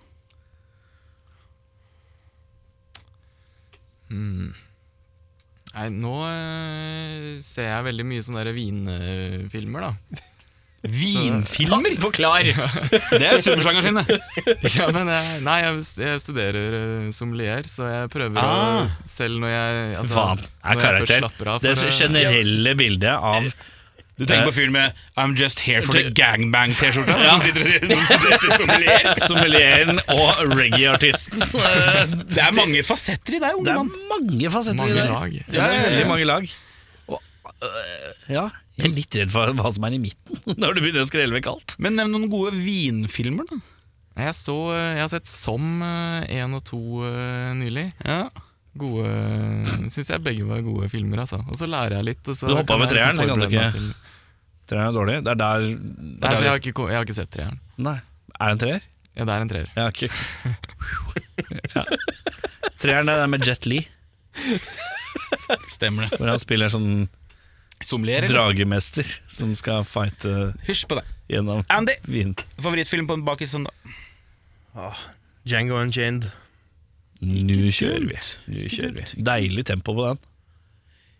F: Nei, nå eh, ser jeg veldig mye sånne der vinfilmer, da.
D: Vinfilmer?
C: Forklar!
D: Det er supersjangeren sin, det.
F: Ja, men jeg, nei, jeg, jeg studerer eh, sommelier, så jeg prøver
D: Ah.
F: å Selv når jeg altså,
A: Faen, er
F: når jeg først
A: karakter.
F: slapper av,
A: Det
F: for, eh,
A: generelle bildet av
D: Du tenker på fyren med 'I'm just here for the gangbang'-T-skjorta? Som sitter og som studerte sommelier.
A: sommelieren og reggae-artisten.
D: Det er mange fasetter i deg,
A: Det
D: unge
A: er
D: mann.
A: mange fasetter i
F: mange
A: det.
F: lag.
A: Ja, det er veldig mange lag. Og, øh, ja, jeg er litt redd for hva som er i midten når det begynner å skrelve kaldt.
D: Men nevn noen gode vinfilmer, da.
F: Nei, Jeg, så, eh, jeg har sett Som eh, én og to eh, nylig.
D: Ja.
F: Gode Syns jeg begge var gode filmer, altså. Og så lærer jeg litt. Og så
A: Du hoppet
F: kan
A: med
F: jeg liksom
A: treeren, det kan du
F: forberede meg
A: ikke.
F: til-
A: Treeren er dårlig. Det er der,
F: Nei, så
A: det
F: jeg,
A: er,
F: har ikke, ko- jeg har ikke sett treeren.
A: der Nei. Er det en treer?
F: Ja, det er en treer.
A: Ja, ok. ja. Treeren er den med Jet Li,
D: Stemmer det.
A: hvor han spiller sånn
D: Sommelier, eller?
A: dragemester som skal fighte
D: Hysj på deg.
A: gjennom
D: Andy,
A: vin.
D: favorittfilm på en sånn bakis søndag?
G: Django Unchained.
A: Nå kjører vi. Nå kjører vi. Deilig tempo på den.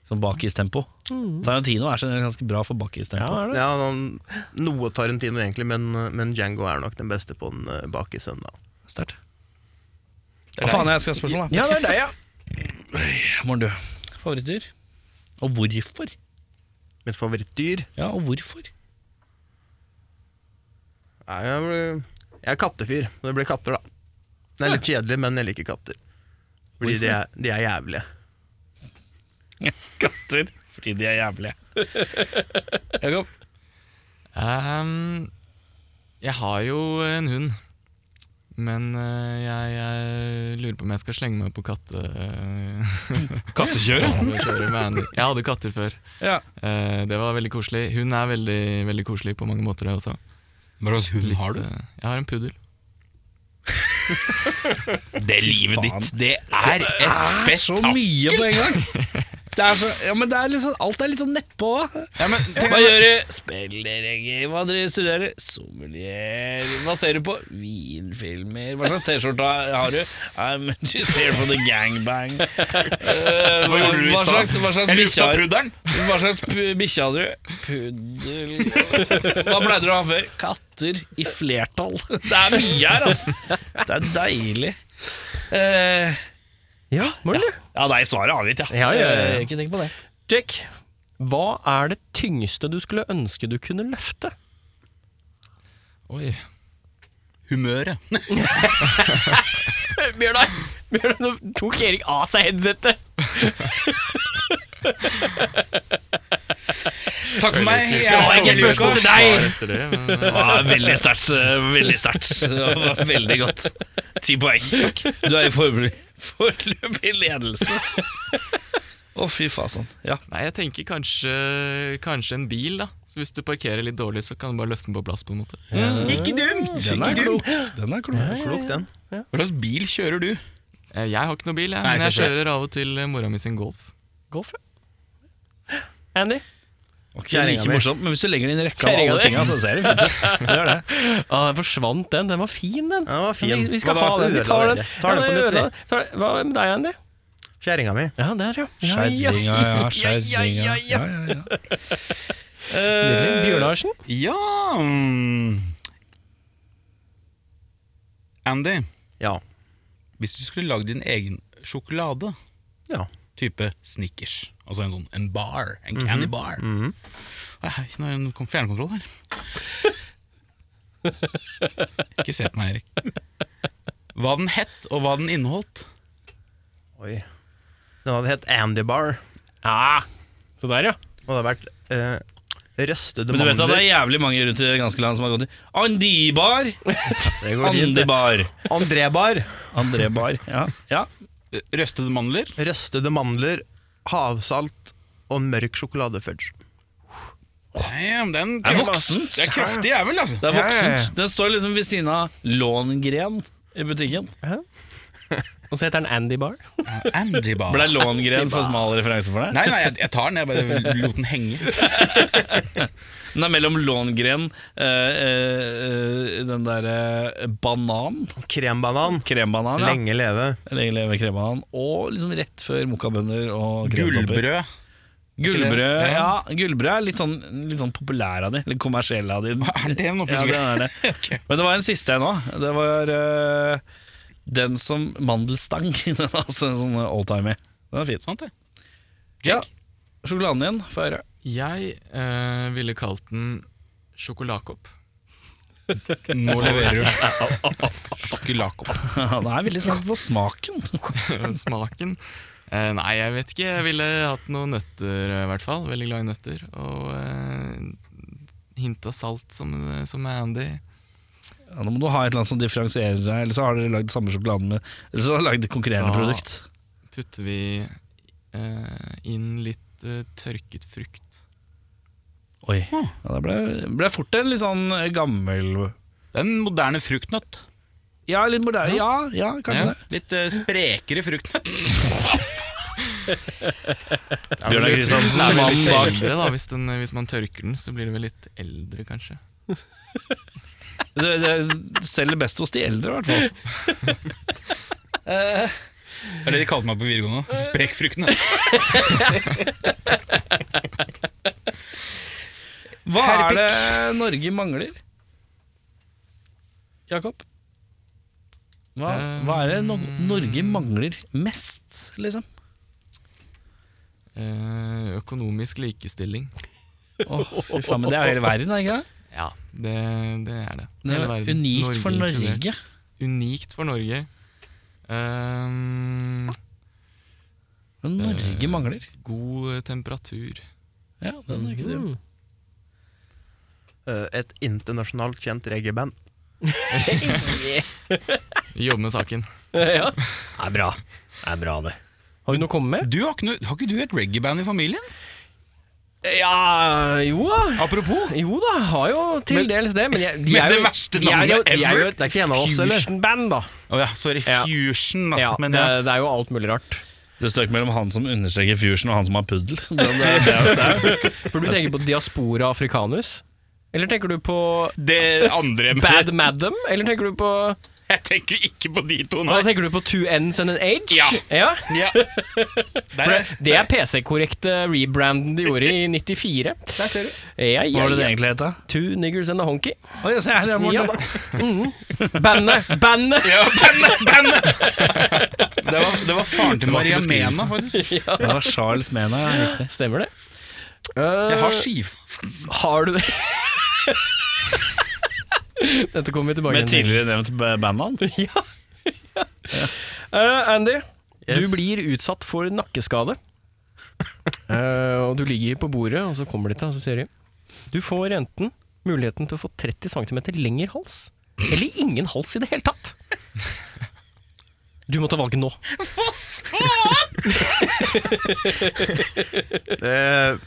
A: Sånn bakistempo. Mm. Tarantino er generelt ganske bra for bakistempo.
C: Ja, er det.
G: Ja, han- noe Tarantino egentlig, men, men Django er nok den beste på den eh, bak i søndag.
A: Sterkt. Hva faen, jeg skal ha spørsmål, da.
C: Ja, det er deg, ja.
A: Morn, du. Favorittdyr? Og hvorfor?
G: Mitt favorittdyr
A: Ja, og hvorfor?
G: Nei, Jeg blir- jeg er kattefyr. så Det blir katter, da. Det er litt kjedelig, men jeg liker katter. Fordi de er, de er jævlige.
A: Katter. Fordi de er jævlige. Jakob?
F: Ehm, jeg har jo en hund, men eh, jeg, jeg lurer på om jeg skal slenge meg på katte...
D: Kattekjøret?
F: Jeg kjører med Andy. Jeg hadde katter før.
A: Ja.
F: Eh, det var veldig koselig. Hun er veldig, veldig koselig på mange måter, det også.
D: Hva slags hund har du?
F: eh, jeg har en puddel.
D: Det er livet ditt. Det er et
A: Så
D: spetakkel.
A: mye på en gang. Det er så, ja, men det er liksom, alt er litt sånn nedpå. da.
D: Ja, men tenk-
A: Hva gjør du? Spiller reggae. Hva driver studerer? Sommelier. Hva ser du på? Vinfilmer. Hva slags T-skjorte har du? I'm just here for the gangbang. Eh, hva,
D: gjorde du i
A: hva
D: stad?
A: slags, hva slags
D: Jeg
A: bikkje
D: lufta
A: har du?
D: puddelen.
A: Hva slags pu- bikkje hadde du? Puddel Hva pleide du å ha før? Katter i flertall. Det er mye her, altså. Det er deilig. Eh,
C: Ja, Morten, du.
A: ja, nei, svaret er avgitt, ja.
C: Ja, ja, ja, ja.
A: Eh, Ikke tenk på det.
C: Jake, hva er det tyngste du skulle ønske du kunne løfte?
F: Oi.
D: Humøret.
C: Bjørnar, Bjørnar, nå tok Erik av seg headsetet.
D: Takk for meg. Jeg
C: har ikke et spørsmål til deg.
F: Etter det, men, eh,
A: Ja, veldig sterkt. eh, Veldig sterkt. Det var Veldig godt. Ti poeng. Du er i formel- foreløpig ledelse. Å, fy faen. Ja.
F: nei, jeg tenker kanskje, kanskje en bil, da. Så hvis du parkerer litt dårlig, så kan du bare løfte den på plass. på en måte
D: Ikke dumt!
A: Den er
D: Ikke dumt.
A: klok. Den er klok.
G: Klok, den.
D: Hva slags bil kjører du?
F: Eh, Jeg har ikke noe bil, jeg,
D: Nei,
F: men jeg
D: selvfølgelig.
F: kjører av og til eh, mora mi sin Golf.
C: Golf, ja. Andy?
A: Ok,
G: Kjerringa
A: like
G: mi.
A: morsomt, men hvis du legger den i en rekke av
C: Kjerringa
A: alle
C: di.
A: tinga, så ser det fint ut. Det gjør det.
C: Ja, Ah, den forsvant, den. Den var fin, den.
G: Ja, den var fin.
C: Vi, vi skal
G: Hva da?
C: ha den. Vi tar den.
G: Tar den
C: Ja,
G: på nytt,
C: ødela-
G: vi.
C: tar den. Hva med deg, Andy?
G: Kjerringa mi.
C: Ja, der, ja. ja, ja.
A: Skjerringa, ja. Skjerringa. Ja, ja, ja.
C: Nydelig. Bjørnarsen?
D: Ja mm. Andy,
G: Ja.
D: hvis du skulle lagd din egen sjokolade
G: Ja.
D: Type Snickers Altså en sånn en bar, en candy bar Nei, Nå er det en kom- fjernkontroll her Ikke se på meg, Erik Hva den hett og hva den inneholdt
G: Oi. Den hadde hett Andy Bar.
C: Ja. Så der, ja.
G: Og det hadde vært eh, røstede
A: Men du vet at det
G: mandler.
A: er jævlig mange rundt i det ganske land som har gått i Andibar!
G: Det går fint, det.
A: Andibar.
G: André Bar.
A: Andrebar. Ja. ja.
D: Røstede mandler
G: Røstede mandler, havsalt og mørk sjokoladefudge.
D: Damn, den
A: Det er
D: kraft-
A: voksent.
D: Det er kraftig jævel, altså
A: Det er voksent. Den står liksom ved siden av Långren i butikken.
C: Og så heter den Andy Bar.
D: Andy bar
A: Ble Långren for smal referanse for deg?
D: Nei, nei, jeg, jeg tar den, jeg bare lot den henge
A: Den er mellom Långren, eh, eh, eh, den derre banan,
G: Krembanan.
A: krembanan, ja.
G: Lenge leve.
A: Lenge leve krembanan, og liksom rett før mokkabønner og kremtopper.
D: Gullbrød
A: Gullbrød ja, gullbrød er litt sånn, litt sånn populær av de, litt kommersiell av de.
D: Er det noe
A: Ja,
D: plutselig?
A: den er det. Men det var en siste en òg. Det var eh, den som mandelstang. altså en sånn oldtimer. Den er fin.
D: Sant det
A: Ja, sjokoladen din får jeg høre.
F: Jeg eh, ville kalt den sjokoladkopp.
D: Nå leverer du Sjokoladkopp
A: Den er veldig smak på smaken.
F: Smaken Eh, Nei, jeg vet ikke. Jeg ville hatt noen nøtter, eh, i hvert fall. Veldig glad i nøtter. Og eh, hint av salt, som, eh, som med Andy.
A: Ja, nå må du ha et eller annet som differensierer deg, eller så har dere lagd samme sjokoladen med Eller så har dere lagd et konkurrerende
F: Ja.
A: produkt.
F: Putter vi eh, inn litt eh, tørket frukt.
A: Oi. Ja, det ble, ble fort en litt sånn gammel
D: Det er en moderne fruktnøtt
A: Ja, litt moderne. Ja, ja, kanskje
F: Ja.
A: det.
D: Litt eh, sprekere fruktnøtt
A: Bjørnar
F: Den
A: Kristiansen,
F: er vel
A: mannen
F: litt
A: bak
F: eldre, da. Hvis, den, hvis man tørker den, så blir den vel litt eldre, kanskje.
A: det, det selger best hos de eldre, i hvert fall.
D: Det er det de kalte meg på videregående Sprekfruktnøtt
A: Hva er det Norge mangler? Jakob? Hva, hva er det no Norge mangler mest, liksom?
F: Eh, økonomisk likestilling.
A: Åh, fy faen, men det er jo hele verden, er det ikke det?
F: Ja, det, det er det.
A: Det
F: Hele
A: er jo
F: verden.
A: unikt for
F: inkludert.
A: Norge.
F: Unikt for Norge. Ehm,
A: Men Norge mangler.
F: god temperatur.
A: Ja, den er ikke det.
G: Eh, et internasjonalt kjent reggaeband.
F: Jobbe med saken.
C: ja. Det er bra. Det er bra, det. Har du noe å komme med?
D: Du har ikke, noe- har ikke du et reggae-band i familien?
C: Ja jo da.
D: Apropos
C: Jo da, har jo til dels det. Men, jeg, de
D: men
C: er jo,
D: det verste
C: de er jo-
D: navnet
C: de er jo
D: ever.
C: et
G: Det er ikke en av oss, eller?
C: Fusion-band, da.
D: Åja, sorry,
C: Ja.
D: fusion da
C: Ja,
D: Ah, Men
C: det,
D: ja.
C: det er jo alt mulig rart.
A: Det står ikke mellom han som understreker fusion, og han som har puddel. Den, eh, det er-
C: Burde du tenke på Diaspora africanus? Eller tenker du på
D: Det andre
C: Bad Madam? Eller tenker du på
D: Jeg tenker ikke på de to
C: Hva
D: nå
C: tenker du på Two Ends and an Age?
D: Ja.
C: ja?
D: ja.
C: For
D: Der,
C: det, det er PC-korrekte rebranden de gjorde i 94.
D: der ser du
C: Ja,
A: Hva
C: ja,
A: var det det
C: ja.
A: egentlig het, da?
C: Two niggers and a honky.
A: Oi, se her, ja,
C: Ja
A: Morten.
C: da. Mhm. Bandet! Bandet!
D: Ja, bandet, bandet det, var, det var faren til Maria Mena faktisk
A: Det var Charles Mena, ja, riktig.
C: Stemmer det? Eh,
D: Jeg har skiv
C: Har du det? Dette kommer vi tilbake
A: Med
C: til.
A: tidligere nevnt bandnavn.
C: Ja. Eh, Andy,
G: Yes.
C: du blir utsatt for nakkeskade. Eh, og du ligger på bordet, og så kommer de til deg, og så sier de Du får enten muligheten til å få 30 cm lengre hals, eller ingen hals i det hele tatt. Du må ta valget nå.
G: Eh,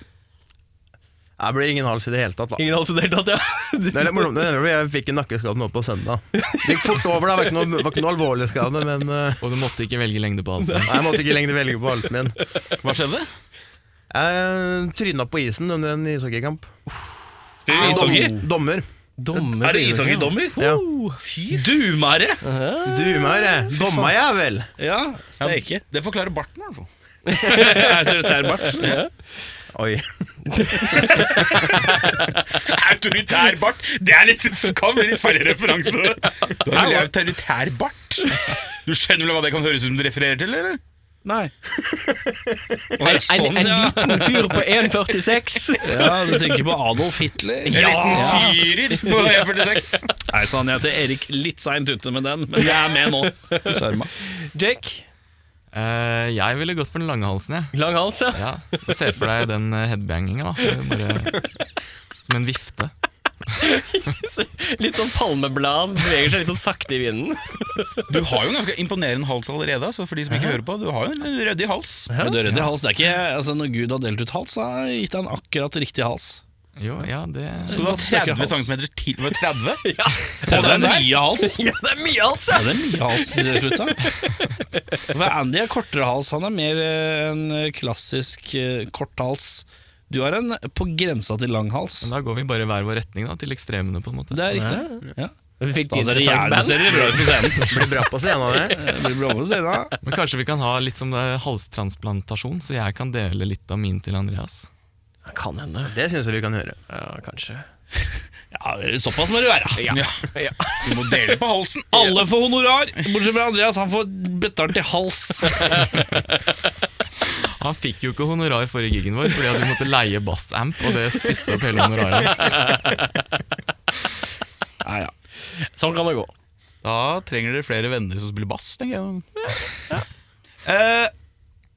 G: Det blir ingen hals i det hele tatt, da.
C: Ingen hals i det hele tatt, ja. Du-
G: Det er litt morsomt, det er fordi jeg fikk en nakkeskade nå på søndag. Det gikk fort over, da. Det var ikke noe, det var ikke noe alvorlig skade, men eh,
F: Og du måtte ikke velge lengde på halsen.
G: nei, jeg måtte ikke lenger velge på halsen min.
D: Hva skjedde?
G: Jeg tryna på isen under en ishockeykamp.
A: Ishockey?
G: Dom- Dommer.
C: Dommer
A: Er det
C: på ishockey, ja.
A: ishockeydommer?
G: Ja.
A: Dumere!
G: Du meg, jeg. Domma jeg vel.
A: Ja, steike.
D: Det forklarer barten, i hvert fall.
A: Autoritær bart.
G: Oi.
B: Autoritær bart. Det er litt, kan bli litt feil referanse.
D: Du har veldig autoritær bart. Du skjønner vel hva det kan høres ut som du refererer til, eller?
A: Nei. Er det
C: En,
A: sånn,
C: en
A: ja?
C: liten fyr på 1,46.
A: ja? Du tenker på Adolf Hitler?
D: En liten fyrer på E46.
A: Nei sann, jeg heter Erik litt seint ute med den, men jeg er med nå. Skjerma.
C: Jake,
F: Eh, jeg ville gått for den lange halsen, jeg.
C: lang hals, ja.
F: Ja. Se for deg den eh, headbanginga, da. Bare som en vifte.
C: Litt sånn palmeblad som beveger seg litt sånn sakte i vinden.
D: Du har jo en ganske imponerende hals allerede, altså, for de som ikke hører på. Du har jo en ryddig hals.
A: Men du, ryddig hals, det er ikke altså, Når Gud har delt ut hals, så har han gitt deg en akkurat riktig hals.
F: Jo, ja, det
D: Skal du ha
A: Godt stykke
D: 30
A: hals.
D: cm til? Var det 30?
A: Se, det er mye hals.
C: Ja, det er mye hals,
A: Ja, det er mye hals eh, til slutt, da. For Andy har kortere hals. Han er mer eh, en klassisk eh, kort hals. Du har en på grensa til lang hals.
F: Men da går vi bare i hver vår retning, da, til ekstremene, på en måte.
A: Det er riktig. Ja.
C: Vi fikk
A: Da ser det jævlig da
C: band.
A: ser det bra ut på scenen.
G: Blir bra på scenen, det.
A: Det blir blå på scenen.
F: Men kanskje vi kan ha litt som det er halstransplantasjon, så jeg kan dele litt av min til Andreas.
C: Kan hende.
G: Det syns jeg vi kan høre.
C: Ja, kanskje.
A: Ja, såpass må det være.
C: Ja.
D: Du må dele på halsen.
A: Alle får honorar, bortsett fra Andreas. Han får betalt i hals.
F: Han fikk jo ikke honorar forrige gigen vår fordi at vi måtte leie bassamp, og det spiste opp hele honoraret hans.
A: Ja, ja.
C: Sånn kan det gå.
D: Da trenger dere flere venner som spiller bass, tenker jeg. Eh,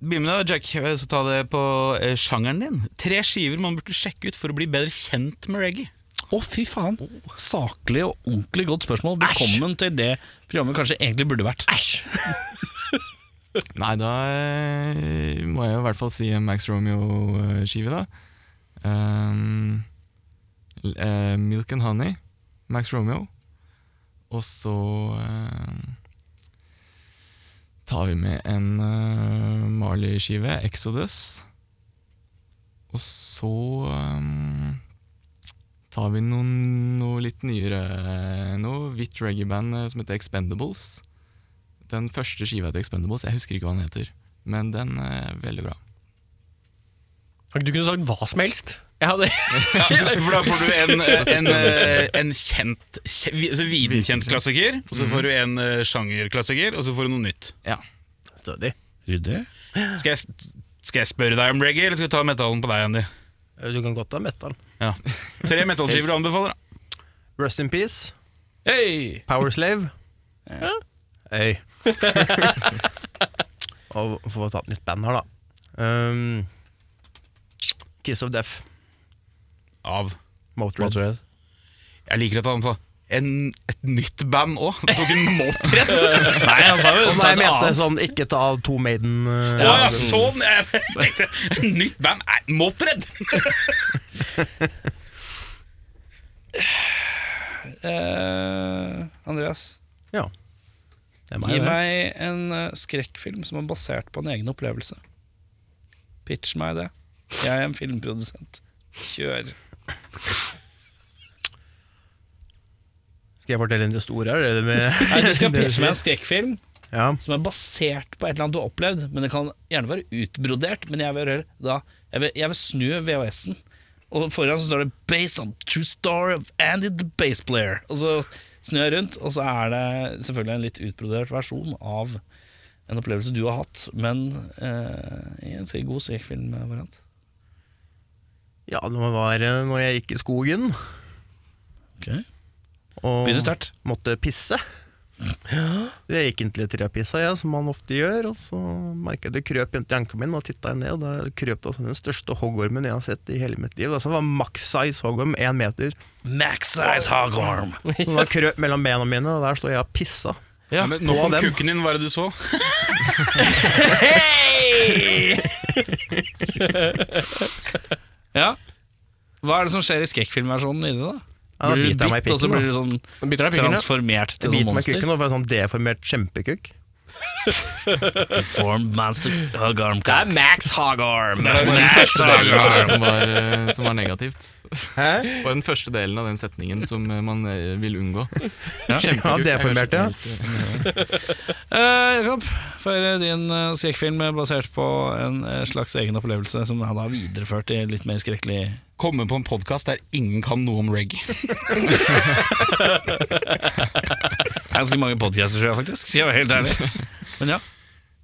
D: Begynn med det, Jack. eh, Så ta det på eh, sjangeren din. Tre skiver man burde sjekke ut for å bli bedre kjent med reggae.
A: Å, fy faen. Saklig og ordentlig godt spørsmål. Velkommen til det programmet kanskje egentlig burde vært.
F: Nei, da eh, må jeg jo i hvert fall si en Max Romeo-skive, da. Ehm, l- eh, Milk and Honey, Max Romeo. Og så eh, tar vi med en eh, Marley-skive, Exodus. Og så ehm, tar vi noen, noe litt nyere eh, noe hvitt reggae-band eh, som heter Expendables. Den første skiva til Expendables, jeg husker ikke hva den heter, men den er veldig bra.
C: Du kunne sagt hva som helst. Jeg hadde
D: For da får du en, eh, en, eh, en kjent, kje- vi- altså videnkjent klassiker, og så får du en eh, sjangerklassiker, og så får du noe nytt.
F: Ja.
C: Stødig.
A: Ryddig.
D: Skal jeg, s- skal jeg spørre deg om reggae, eller skal jeg ta metallen på deg, Andy?
G: Du kan godt ha metal.
D: Ja. Tre metallskiver du anbefaler, da.
G: Rust in peace.
A: Hey.
G: Power slave. Hey. Og få ta et nytt band her, da. Um, Kiss of Death.
D: Av.
G: Motorhead.
D: Jeg liker at han sa en, et nytt band òg. Tok en måte.
A: Nei, han sa jo
G: Å,
A: ta et
G: nei, jeg mente
A: annet.
G: sånn ikke ta av to Maiden. Uh,
D: Ja, ja, sånn! Jeg tenkte, nytt band er Motredd!
A: Eh, Andreas,
G: ja. Det er meg,
A: gi
G: det.
A: meg en eh, skrekkfilm som er basert på en egen opplevelse. Pitch meg det. Jeg er en filmprodusent. Kjør.
G: Skal jeg fortelle en historie, eller? er det Med,
A: Nei, du skal pitche meg en skrekkfilm
G: ja.
A: som er basert på et eller annet du har opplevd. Men Det kan gjerne være utbrodert, men jeg vil, høre da, jeg vil, jeg vil snu VHS-en. Og foran så står det 'Based on true story of Andy the Bass Player'. Og så snur jeg rundt, og så er det selvfølgelig en litt utbrodert versjon av en opplevelse du har hatt, men eh, i en ganske god skrekkfilmvariant.
G: ja, det var eh, når jeg gikk i skogen
A: Okay.
G: og
A: Begynner sterkt.
G: måtte pisse. Jeg gikk inn til terapissa, jeg, som man ofte gjør, og så merka jeg det krøp inntil ankelen min, og titta jeg ned, og der krøp det også den største hoggormen jeg har sett i hele mitt liv. Altså, det var maks size hoggorm, én meter.
A: Max size hogarm.
G: Den var krøp mellom bena mine, og der står jeg og pissa.
D: Ja, men nå
G: på
D: kom
G: dem.
D: kukken din, hva er det du så?
A: Ja. Hva er det som skjer i skrekkfilmversjonen inni det?
G: Ja, da
A: Blir du
G: biter jeg meg i
A: bitt, og så
G: pikken,
A: blir du sånn
C: Biter deg i pikken, ja.
A: transformert
G: Jeg
A: til sånn
G: biter meg i kukken
A: monster?
G: nå, for jeg er sånn deformert kjempekukk.
A: Formed monster hugarm
C: Det er Max Hagarm!
F: Første delen av det som var, eh, som var negativt.
G: Hæ?
F: Bare den første delen av den setningen som eh, man eh, vil unngå.
G: Ja,
F: Kjempekult.
G: deformert, ja.
A: Eh, Jakob, for eh, din eh, skrekkfilm er basert på en eh, slags egen opplevelse som han har videreført i litt mer skrekkelig
D: Komme på en podkast der ingen kan noe om reggae.
A: Det er Ganske mange podcaster, tror jeg faktisk, skal jeg være helt ærlig. Men ja.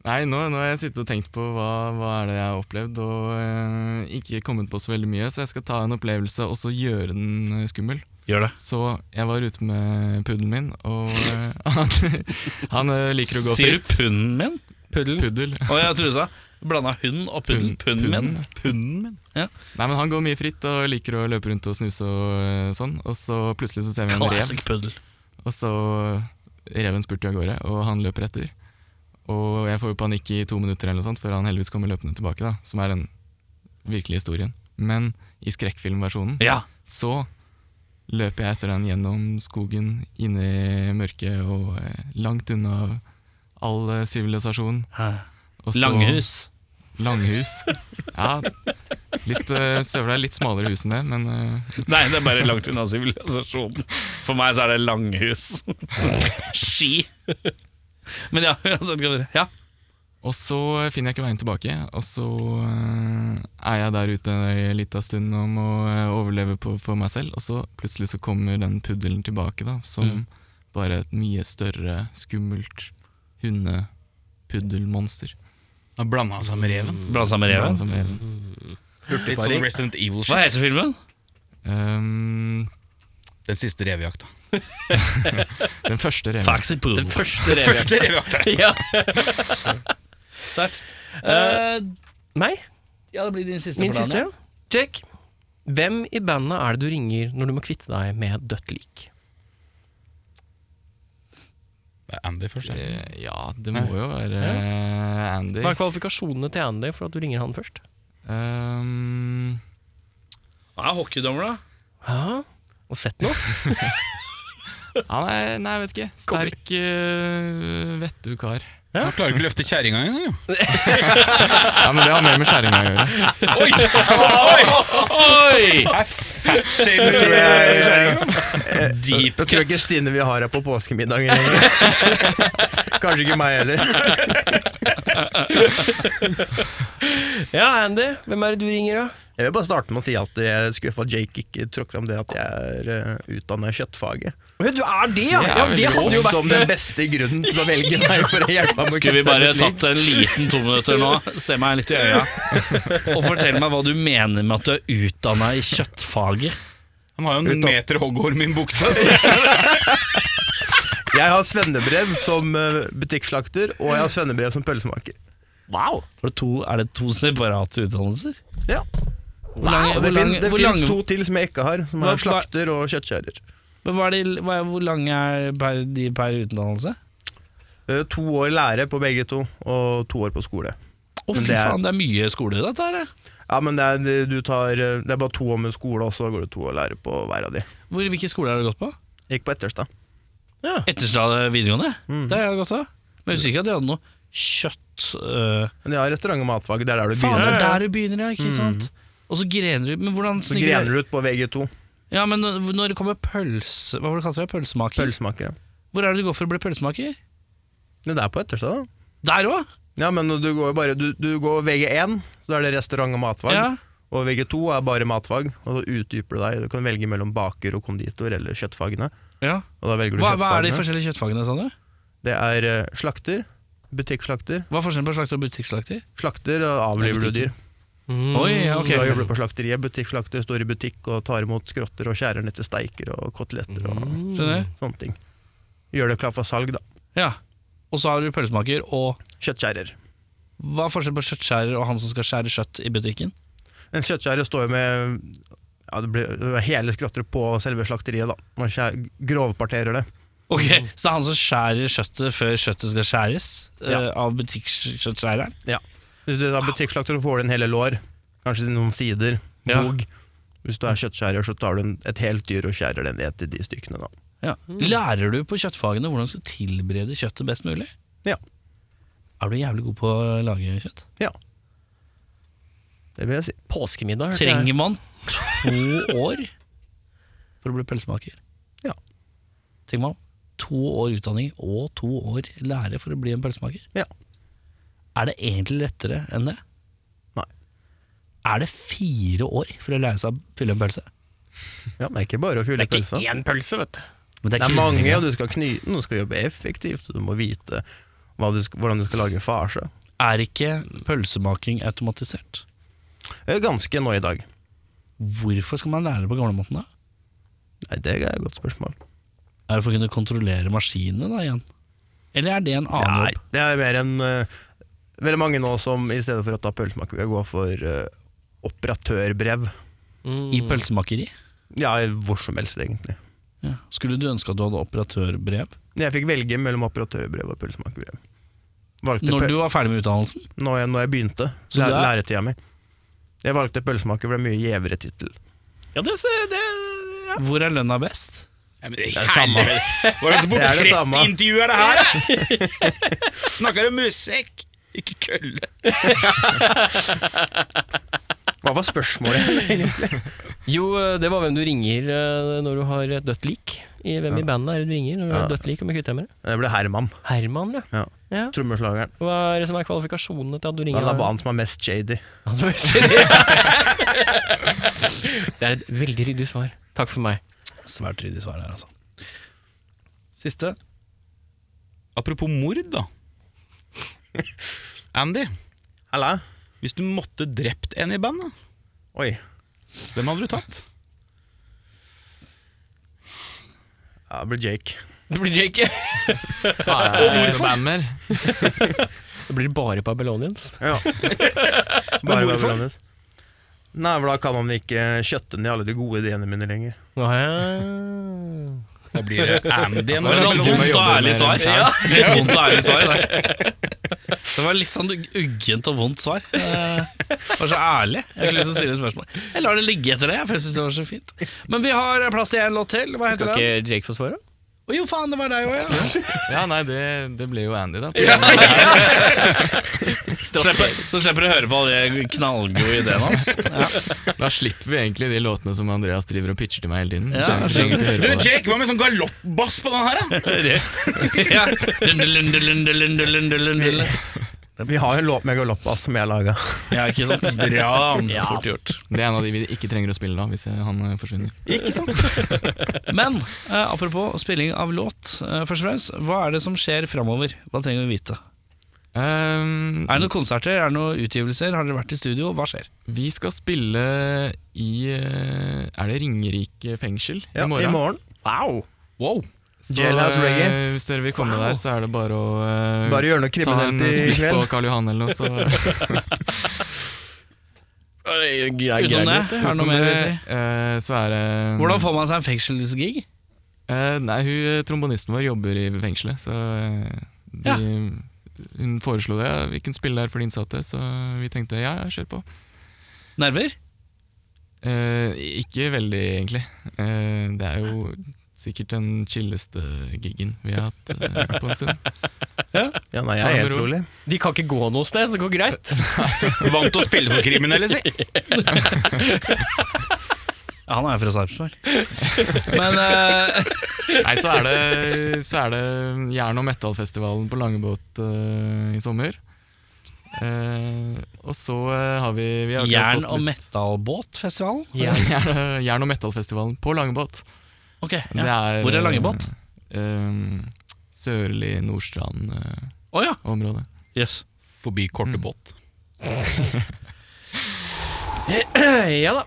F: Nei, nå, nå har jeg sittet og tenkt på hva, hva er det jeg har opplevd, og eh, ikke kommet på så veldig mye, så jeg skal ta en opplevelse og så gjøre den eh, skummel.
A: Gjør det.
F: Så jeg var ute med puddelen min, og eh, han, han eh, liker å gå
A: Sier du
F: fritt.
A: punnen min?
C: Puddel.
F: Puddel.
A: Å, jeg trodde du sa blanda hund og puddel. Punnen min.
D: Punnen min.
F: Nei, men han går mye fritt og liker å løpe rundt og snuse og eh, sånn, og så plutselig så ser vi en rev,
A: Classic puddel.
F: og så reven spurter av gårde, og han løper etter. Og jeg får jo panikk i to minutter eller noe sånt, før han heldigvis kommer løpende tilbake, da, som er den virkelige historien. Men i skrekkfilmversjonen
A: Ja.
F: Så løper jeg etter den gjennom skogen, inne i mørket og eh, langt unna all eh, sivilisasjon.
A: Hæ.
F: Og så-
A: Langhus.
F: Langhus. Ja, litt, eh, Søvla er litt smalere hus enn det, men eh,
A: Nei, det er bare langt unna sivilisasjonen. For meg så er det langhus. Ski. Men ja, uansett hva dere Ja.
F: Og så finner jeg ikke veien tilbake, og så eh, er jeg der ute en liten stund og må eh, overleve på, for meg selv, og så plutselig så kommer den puddelen tilbake, da, som bare et mye større, skummelt hundepuddelmonster.
D: Han blanda seg med reven.
A: Blanda sammen med reven.
F: Som reven.
D: Litt sånn Resident Evil
A: Hva
D: shit.
A: heter filmen?
F: Ehm,
D: Den siste revejakta.
F: den første reven.
A: Faxi Poodle.
C: Første rev.
D: Første revejakta!
C: Ja.
A: Sterkt.
C: Meg?
A: ja, det blir din siste.
C: Min siste, ja. Jake, hvem i bandet er det du ringer når du må kvitte deg med et dødt lik?
D: Det er Andy først. ja.
F: Eh, ja, det må jo være eh, Andy.
C: Hva er kvalifikasjonene til Andy for at du ringer han først?
F: Ehm,
A: Hva er hockeydommer, da?
C: Ja, og sett noe?
F: han er Nei, jeg vet ikke. Sterk, uh, vettug kar.
D: Han klarer ikke å løfte kjerringa engang, jo.
F: Ja, men det har mer med skjæringa å gjøre.
A: Oi!
D: Fatshamer tror jeg kjerringa.
A: Deep
G: Jeg tror ikke Stine vil ha deg på påskemiddagen lenger. Kanskje ikke meg heller.
C: Ja, Andy, hvem er det du ringer, da?
G: Jeg vil bare starte med å si at jeg er skuffa at Jake ikke tråkk fram det at jeg er uh, utdanna i kjøttfaget.
C: Du er det, ja! ja det hadde jo eh,
G: Som den beste grunnen til å velge meg for å hjelpe ham å
A: Skulle vi
G: kutte
A: bare
G: mitt liv.
A: tatt en liten to minutter nå, se meg litt i øya, og fortell meg hva du mener med at du er utdanna i kjøttfaget?
D: Han har jo en altså.
G: Utad-
D: meter hoggorm i buksa. Så.
G: Jeg har svennebrev som eh, butikkslakter, og jeg har svennebrev som pølsemaker.
C: Wow!
A: Er det to, er det to separate utdannelser?
G: Ja.
A: Hvor lange,
G: Og det
A: hvor
G: fin-
A: lange,
G: det
A: hvor
G: fins
A: lange,
G: to til som jeg ikke har, som
A: Hva-
G: er slakter og kjøttkjører.
A: men hva er de, hva er, hvor lange er per, de per utdannelse?
G: Eh, To år lære på begge to, og to år på skole.
A: Å,
G: Men
A: fy
G: det er-
A: faen, det er mye skole i dette her. det.
G: Ja, men det er, det- du tar, eh, det er bare to år med skole, og så går det to år lære på hver av de.
A: Hvor, hvilke skoler har du gått på?
G: Gikk på Etterstad.
A: Etterstad eh, videregående?
G: Mm.
A: Det har jeg gått av. Men jeg husker ikke at de hadde noe kjøtt øh,
G: Men jeg har restaurant- og matfag, det er der du
A: Faen, det
G: begynner. Mm.
A: er der du begynner, ja, ikke sant? Og så grener du Men hvordan
G: Så
A: sniker
G: grener du ut på VG2.
A: Ja, men når når det kommer pølse Hva var det du kalte det? Pølsemaker?
G: Pølsemaker. ja.
A: Hvor er det du går for å bli pølsemaker?
G: Men Det er på Etterstad, da.
A: Der òg?
G: Ja, men du går jo bare Du, du går VG1, så er det restaurant- og matfag.
A: Ja.
G: Og VG2 er bare matfag, og så utdyper du deg. Du kan velge mellom baker og konditor eller kjøttfagene.
A: ja.
G: Og da velger du
A: Hva,
G: kjøttfagene.
A: hva er de forskjellige kjøttfagene, sa du?
G: Det er eh, slakter, butikkslakter.
A: Hva er forskjellen på slakter og butikkslakter?
G: Slakter og avliver du dyr. Mm,
A: Oi, ja, ok.
G: Da jobber du på slakteriet. Butikkslakter står i butikk og tar imot skrotter og skjærer ned til steiker og koteletter
A: Mhm.
G: og
A: Skjønner?
G: sånne ting. Gjør det klar for salg, da.
A: Ja. Og så har du pølsemaker og
G: Kjøttskjærer.
A: Hva er forskjellen på kjøttskjærer og han som skal skjære kjøtt i butikken?
G: En kjøttskjærer står jo med ja, det blir det er hele skrotter på selve slakteriet, da. Man skjæ- grovparterer det.
A: Ok,
G: Mm.
A: Så det er han som skjærer kjøttet før kjøttet skal skjæres?
G: Ja.
A: eh, Av butikkskjøttskjæreren?
G: Hvis du tar butikkslakter, så får du en hele lår. Kanskje noen sider.
A: Ja.
G: Bog. Hvis du er kjøttskjærer, så tar du en, et helt dyr og skjærer den ned til de stykkene. da.
A: Ja. Mm. Lærer du på kjøttfagene hvordan du skal tilberede kjøttet best mulig?
G: Ja.
A: Er du jævlig god på å lage kjøtt?
G: ja. Det vil jeg si.
C: Påskemiddag. hørte jeg.
A: Trenger man to år for å bli pølsemaker?
G: Ja.
A: Tenk meg om. To år utdanning og to år lære for å bli en pølsemaker.
G: Ja.
A: Er det egentlig lettere enn det?
G: Nei.
A: Er det fire år for å lære seg å fylle en pølse?
G: Ja, det er ikke bare å
C: Det
G: fylle
C: er
G: pølsa.
C: ikke én pølse, vet du.
A: Men
G: Det er
A: ikke-
G: mange, og du skal kny den, du skal jobbe effektivt, og du må vite hva du skal, hvordan du skal lage farse.
A: Er ikke pølsemaking automatisert?
G: Det er Ganske nå i dag.
A: Hvorfor skal man lære det på gamlemåten da?
G: Nei, Det er et godt spørsmål.
A: Er det for å kunne kontrollere maskinene da igjen? Eller er det en annen
G: Nei,
A: jobb?
G: det er mer enn eh, Veldig mange nå som i stedet for å ta pølsemaker, vil gå for eh, operatørbrev.
A: I pølsemakeri?
G: Ja, hvor som helst, egentlig.
A: Ja. Skulle du ønske at du hadde operatørbrev?
G: Men Jeg fikk velge mellom operatørbrev og pølsemakerbrev. Valgte
A: Når
G: pøl-
A: du var ferdig med utdannelsen?
G: når, jeg, når jeg begynte,
A: Så du
G: læ-
A: er-
G: læretida mi. Jeg valgte pølsemaker, for det er mye gjevere tittel.
C: Ja, det, det
A: Hvor er lønna best?
D: Det er det samme. Hva er det som
G: Det er det samme.
D: portrettintervju er det her? da? Snakker om musikk, ikke kølle.
G: Hva var spørsmålet?
C: Jo, eh, det var hvem du ringer eh, når du har et dødt lik. I, hvem i bandet er det du ringer når du har et dødt lik? Om jeg kvitter meg med det?
G: det ble Herman,
C: Herman, ja.
G: Ja.
C: ja.
G: trommeslageren.
C: Hva er det som er kvalifikasjonene til at du ringer?
G: Han er bare han som er mest shady.
C: Han som er- det er et veldig ryddig svar. Takk for meg.
A: Svært ryddig svar der, altså. Siste.
D: Apropos mord, da. Andy,
G: Halla?
D: hvis du måtte drept en i bandet,
G: Oi.
D: hvem hadde du tatt?
G: Ja, det blir Jake.
C: Det blir Jake.
F: Eh, Hvorfor?
C: Det blir bare Babylonians.
G: Ja. Bare hvorfor? Nei, for da kan han ikke kjøtte ned alle de gode ideene mine lenger.
C: Nå har jeg
D: Da blir det Andy.
A: Det var et
D: Andy.
A: sånn vondt og ærlig svar.
F: Ja.
A: Litt vondt og ærlig svar der. Det var litt sånn uggent og vondt svar. Eh, Det var så ærlig. Jeg har ikke lyst til å stille spørsmål. Jeg lar det ligge etter det, for jeg synes det var så fint. Men vi har plass til en låt til. Hva heter
C: Skal
A: den?
C: ikke Jake få svare?
A: Å jo, faen, det var deg òg, ja.
F: Ja, nei, det, det ble jo Andy, da.
A: Slipper, så slipper du å høre på alle de knallgode ideene hans.
F: Da slipper vi egentlig de låtene som Andreas driver og pitcher til meg hele tiden.
A: Ja,
F: Trenger ikke høre
D: Du,
F: på det.
D: Jake, hva med sånn galoppbass på den her, da?
A: Ja. Lunde, lunde, lunde, lunde, lunde, lunde.
G: Vi har jo en låt med Galoppas som jeg laga.
A: Ja, ikke sant? Bra, fort gjort.
F: Det er en av de vi ikke trenger å spille da, hvis eh, han eh, forsvinner.
A: Men eh, apropos spilling av låt, eh, først og fremst, hva er det som skjer framover? Hva trenger vi vite?
F: Ehm,
A: Er det noen konserter, er det noen utgivelser, har dere vært i studio, hva skjer?
F: vi skal spille i eh, Er det Ringerike fengsel
G: Ja,
F: i morgen?
G: I morgen.
C: Wow!
F: Wow. Så,
G: Jailhouse
F: eh,
G: reggae.
F: Hvis dere vil komme der, så er det bare å eh,
G: Bare gjør noe
F: ta en
G: kriminelt
F: eh, spikk
G: i
F: på
G: kveld.
F: Karl Johan eller noe, så
A: Utenom det, er det noe mer? å si?
F: Eh, så er det
A: Hvordan får man seg en fengselsgig?
F: Eh, nei, hun, eh, trombonisten vår jobber i fengselet, så eh, de,
A: Ja.
F: hun foreslo det. Vi kunne spille der for de innsatte, så vi tenkte ja, ja, kjør på.
A: Nerver?
F: Eh, ikke veldig, egentlig. Eh, det er jo sikkert den chilleste giggen vi har hatt eh, på en stund.
G: Ja, nei,
F: Ta
G: jeg
F: det
G: er
F: med
G: helt
F: ro.
G: rolig.
C: De kan ikke gå noe sted, så det går greit.
D: Vant til å spille for kriminelle, si.
A: Ja, han er jo fra Sarpsborg. Men eh,
F: Nei, så er det, så er det jern- og metallfestivalen på Langebåt eh, i sommer. Eh, og så eh, har vi, vi har akkurat
A: Jern-
F: fått
A: og
F: litt-
A: metallbåtfestivalen?
C: Ja.
F: Jern- Jern- og metallfestivalen på Langebåt.
A: Ok,
F: Det
A: ja.
F: er,
A: Hvor er Langebåt?
F: eh, eh, Sørlig Nordstrand-området.
A: Å ja. Jøss.
D: Forbi
A: Mm.
D: Kortebåt.
C: ja da.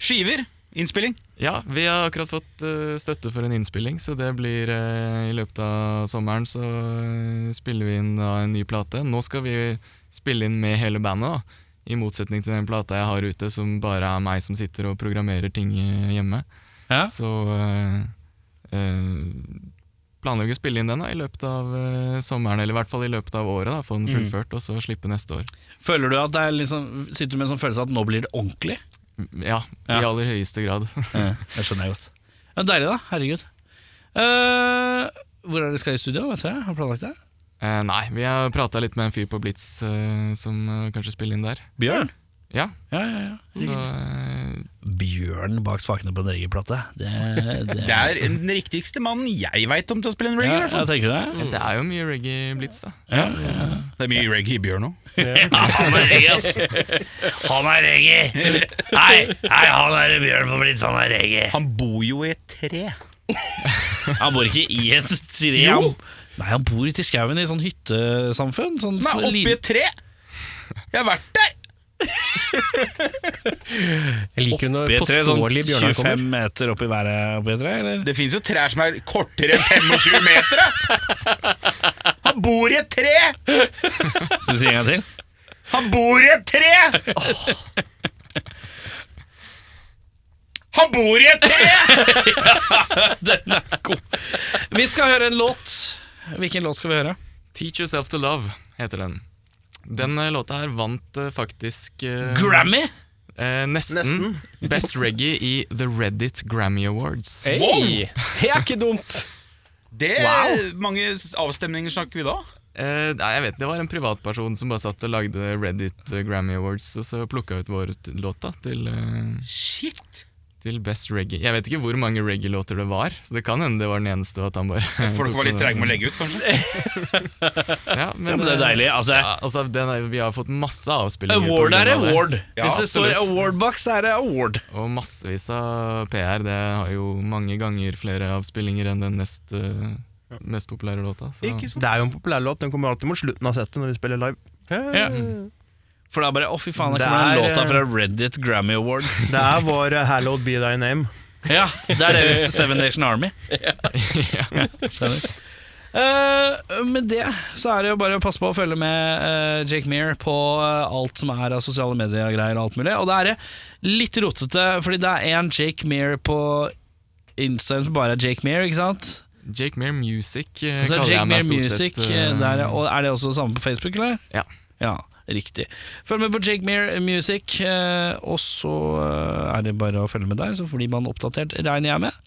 D: Skiver. Innspilling.
F: ja, vi har akkurat fått eh, støtte for en innspilling, så det blir eh, I løpet av sommeren så eh, spiller vi inn da, en ny plate. Nå skal vi spille inn med hele bandet, da. I motsetning til den plata jeg har ute, som bare er meg som sitter og programmerer ting eh, hjemme.
A: Ja.
F: Så eh, eh, planlegger å spille inn den da, i løpet av eh, sommeren, eller i hvert fall i løpet av året. da, Få den fullført, og så slippe neste år.
A: Føler du at det er liksom Sitter du med en sånn følelse at nå blir det ordentlig?
F: Mm, Ja, i
A: Ja.
F: aller høyeste grad.
A: Det skjønner jeg godt. Ja, deilig, da. Herregud. Eh, hvor er det skal i studio? Vet dere? Har du planlagt det?
F: Eh, nei, vi har prata litt med en fyr på Blitz eh, som eh, kanskje spiller inn der.
A: Bjørn?
F: Ja,
A: Ja, ja, ja.
F: så eh,
A: Bjørn bak spakene på en regelplate. Det, det,
D: Det er den riktigste mannen jeg veit om til å spille en reggae. i
A: ja,
D: hvert fall.
A: jeg tenker det.
F: Det er jo mye reggae i Blitz, da.
A: Ja, ja, ja.
D: Det er mye reggae i Bjørn nå.
A: Han er reggae, ass! Han er reggae! Nei, nei, han er Bjørn på Blitz, han er reggae.
D: Han bor jo i et tre.
A: Han bor ikke i et tre. han- Nei, han bor ute i skauen i sånn hyttesamfunn. Sånn
D: Nei, oppi
A: liten-
D: et tre! Jeg har vært der!
C: Jeg liker når
A: oppi et tre, sånn
C: påståelig Bjørnar kommer.
A: 25 meter oppi været oppi et tre, eller?
D: Det fins jo trær som er kortere enn 25 meter! da. Han bor i et tre!
A: Skal vi si en gang til?
D: Han bor i et tre! Han bor i et tre!
A: Vi skal høre en låt. Hvilken låt skal vi høre?
F: Teach Yourself to Love heter den. Den eh, låta her vant eh, faktisk eh,
A: Grammy?
F: eh, nesten, Best Reggae i The Reddit Grammy Awards.
C: Hey, det er ikke dumt!
D: Det mange avstemninger snakker vi da?
F: Eh, nei, jeg vet, Det var en privatperson som bare satt og lagde Reddit eh, Grammy Awards, og så plukka ut vår t- låt da, til, eh,
D: Shit!
F: til Best Reggae. Jeg vet ikke hvor mange reggae-låter det var, så det kan hende det var den eneste. og at han bare
D: Folk var litt treige med å legge ut, kanskje?
F: Ja, men,
A: Men det er
F: eh,
A: deilig. altså
F: Ja, altså, den er, vi har fått masse avspillinger. på
A: Award
F: grunn
A: er
F: av det.
A: award.
D: Ja,
A: Hvis det står
F: absolutt.
A: award-box, er det award.
F: Og massevis av PR. Det har jo mange ganger flere avspillinger enn den nest, eh, mest populære låta. Så.
D: Ikke sant?
G: Det er jo en populær låt. Den kommer alltid mot slutten av settet når vi spiller live.
A: Ja. For da bare Å, fy faen, der
G: Det
A: kommer den
G: er,
A: låta
G: eh,
A: fra Reddit Grammy Awards.
G: Det er vår eh, 'Hallowed Be Thy Name'.
A: Ja, Det er deres Seven Nation Army. Skjønner. Eh, med det så er det jo bare å passe på å følge med eh, Jake Meir på eh, alt som er av sosiale medier-greier og alt mulig. Og det er det litt rotete, fordi det er en Jake Meir på Instagram som bare er Jake Meir, ikke sant?
F: Jake Mere Music eh,
A: Og så er
F: kaller
A: Altså, Jake
F: jeg meg
A: Meir
F: stort
A: Music
F: sett.
A: eh,
F: eh,
A: der, og er det også samme på Facebook, eller?
F: Ja.
A: Ja, riktig. Følg med på Jake Meir Music, eh, og så eh, er det bare å følge med der, så blir man oppdatert, regner jeg med.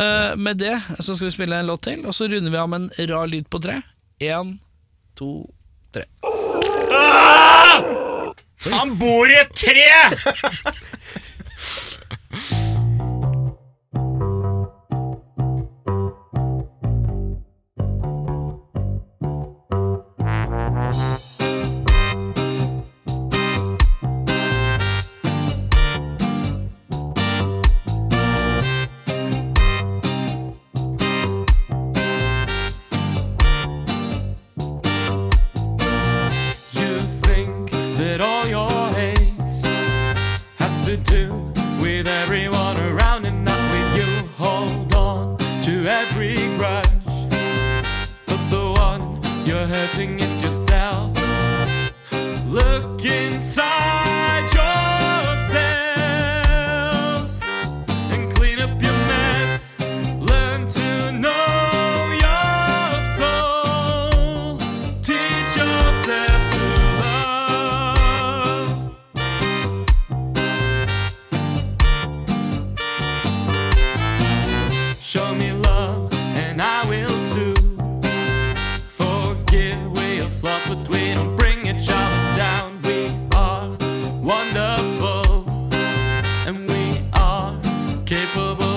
A: Eh, Med det så skal vi spille en låt til, og så runder vi av med en rar lyd på tre. Én, to, tre.
D: Han bor i et tre!
H: You think that all your hate has to do with everyone around and not with you. Hold on to every grudge, but the one you're hurting is yourself. Look inside yourself and clean up your mess. Learn to know your soul. Teach yourself to love. Show me love, and I will too. Forgive we are flaws, but we don't bring each other down. We are wonderful, and we are capable.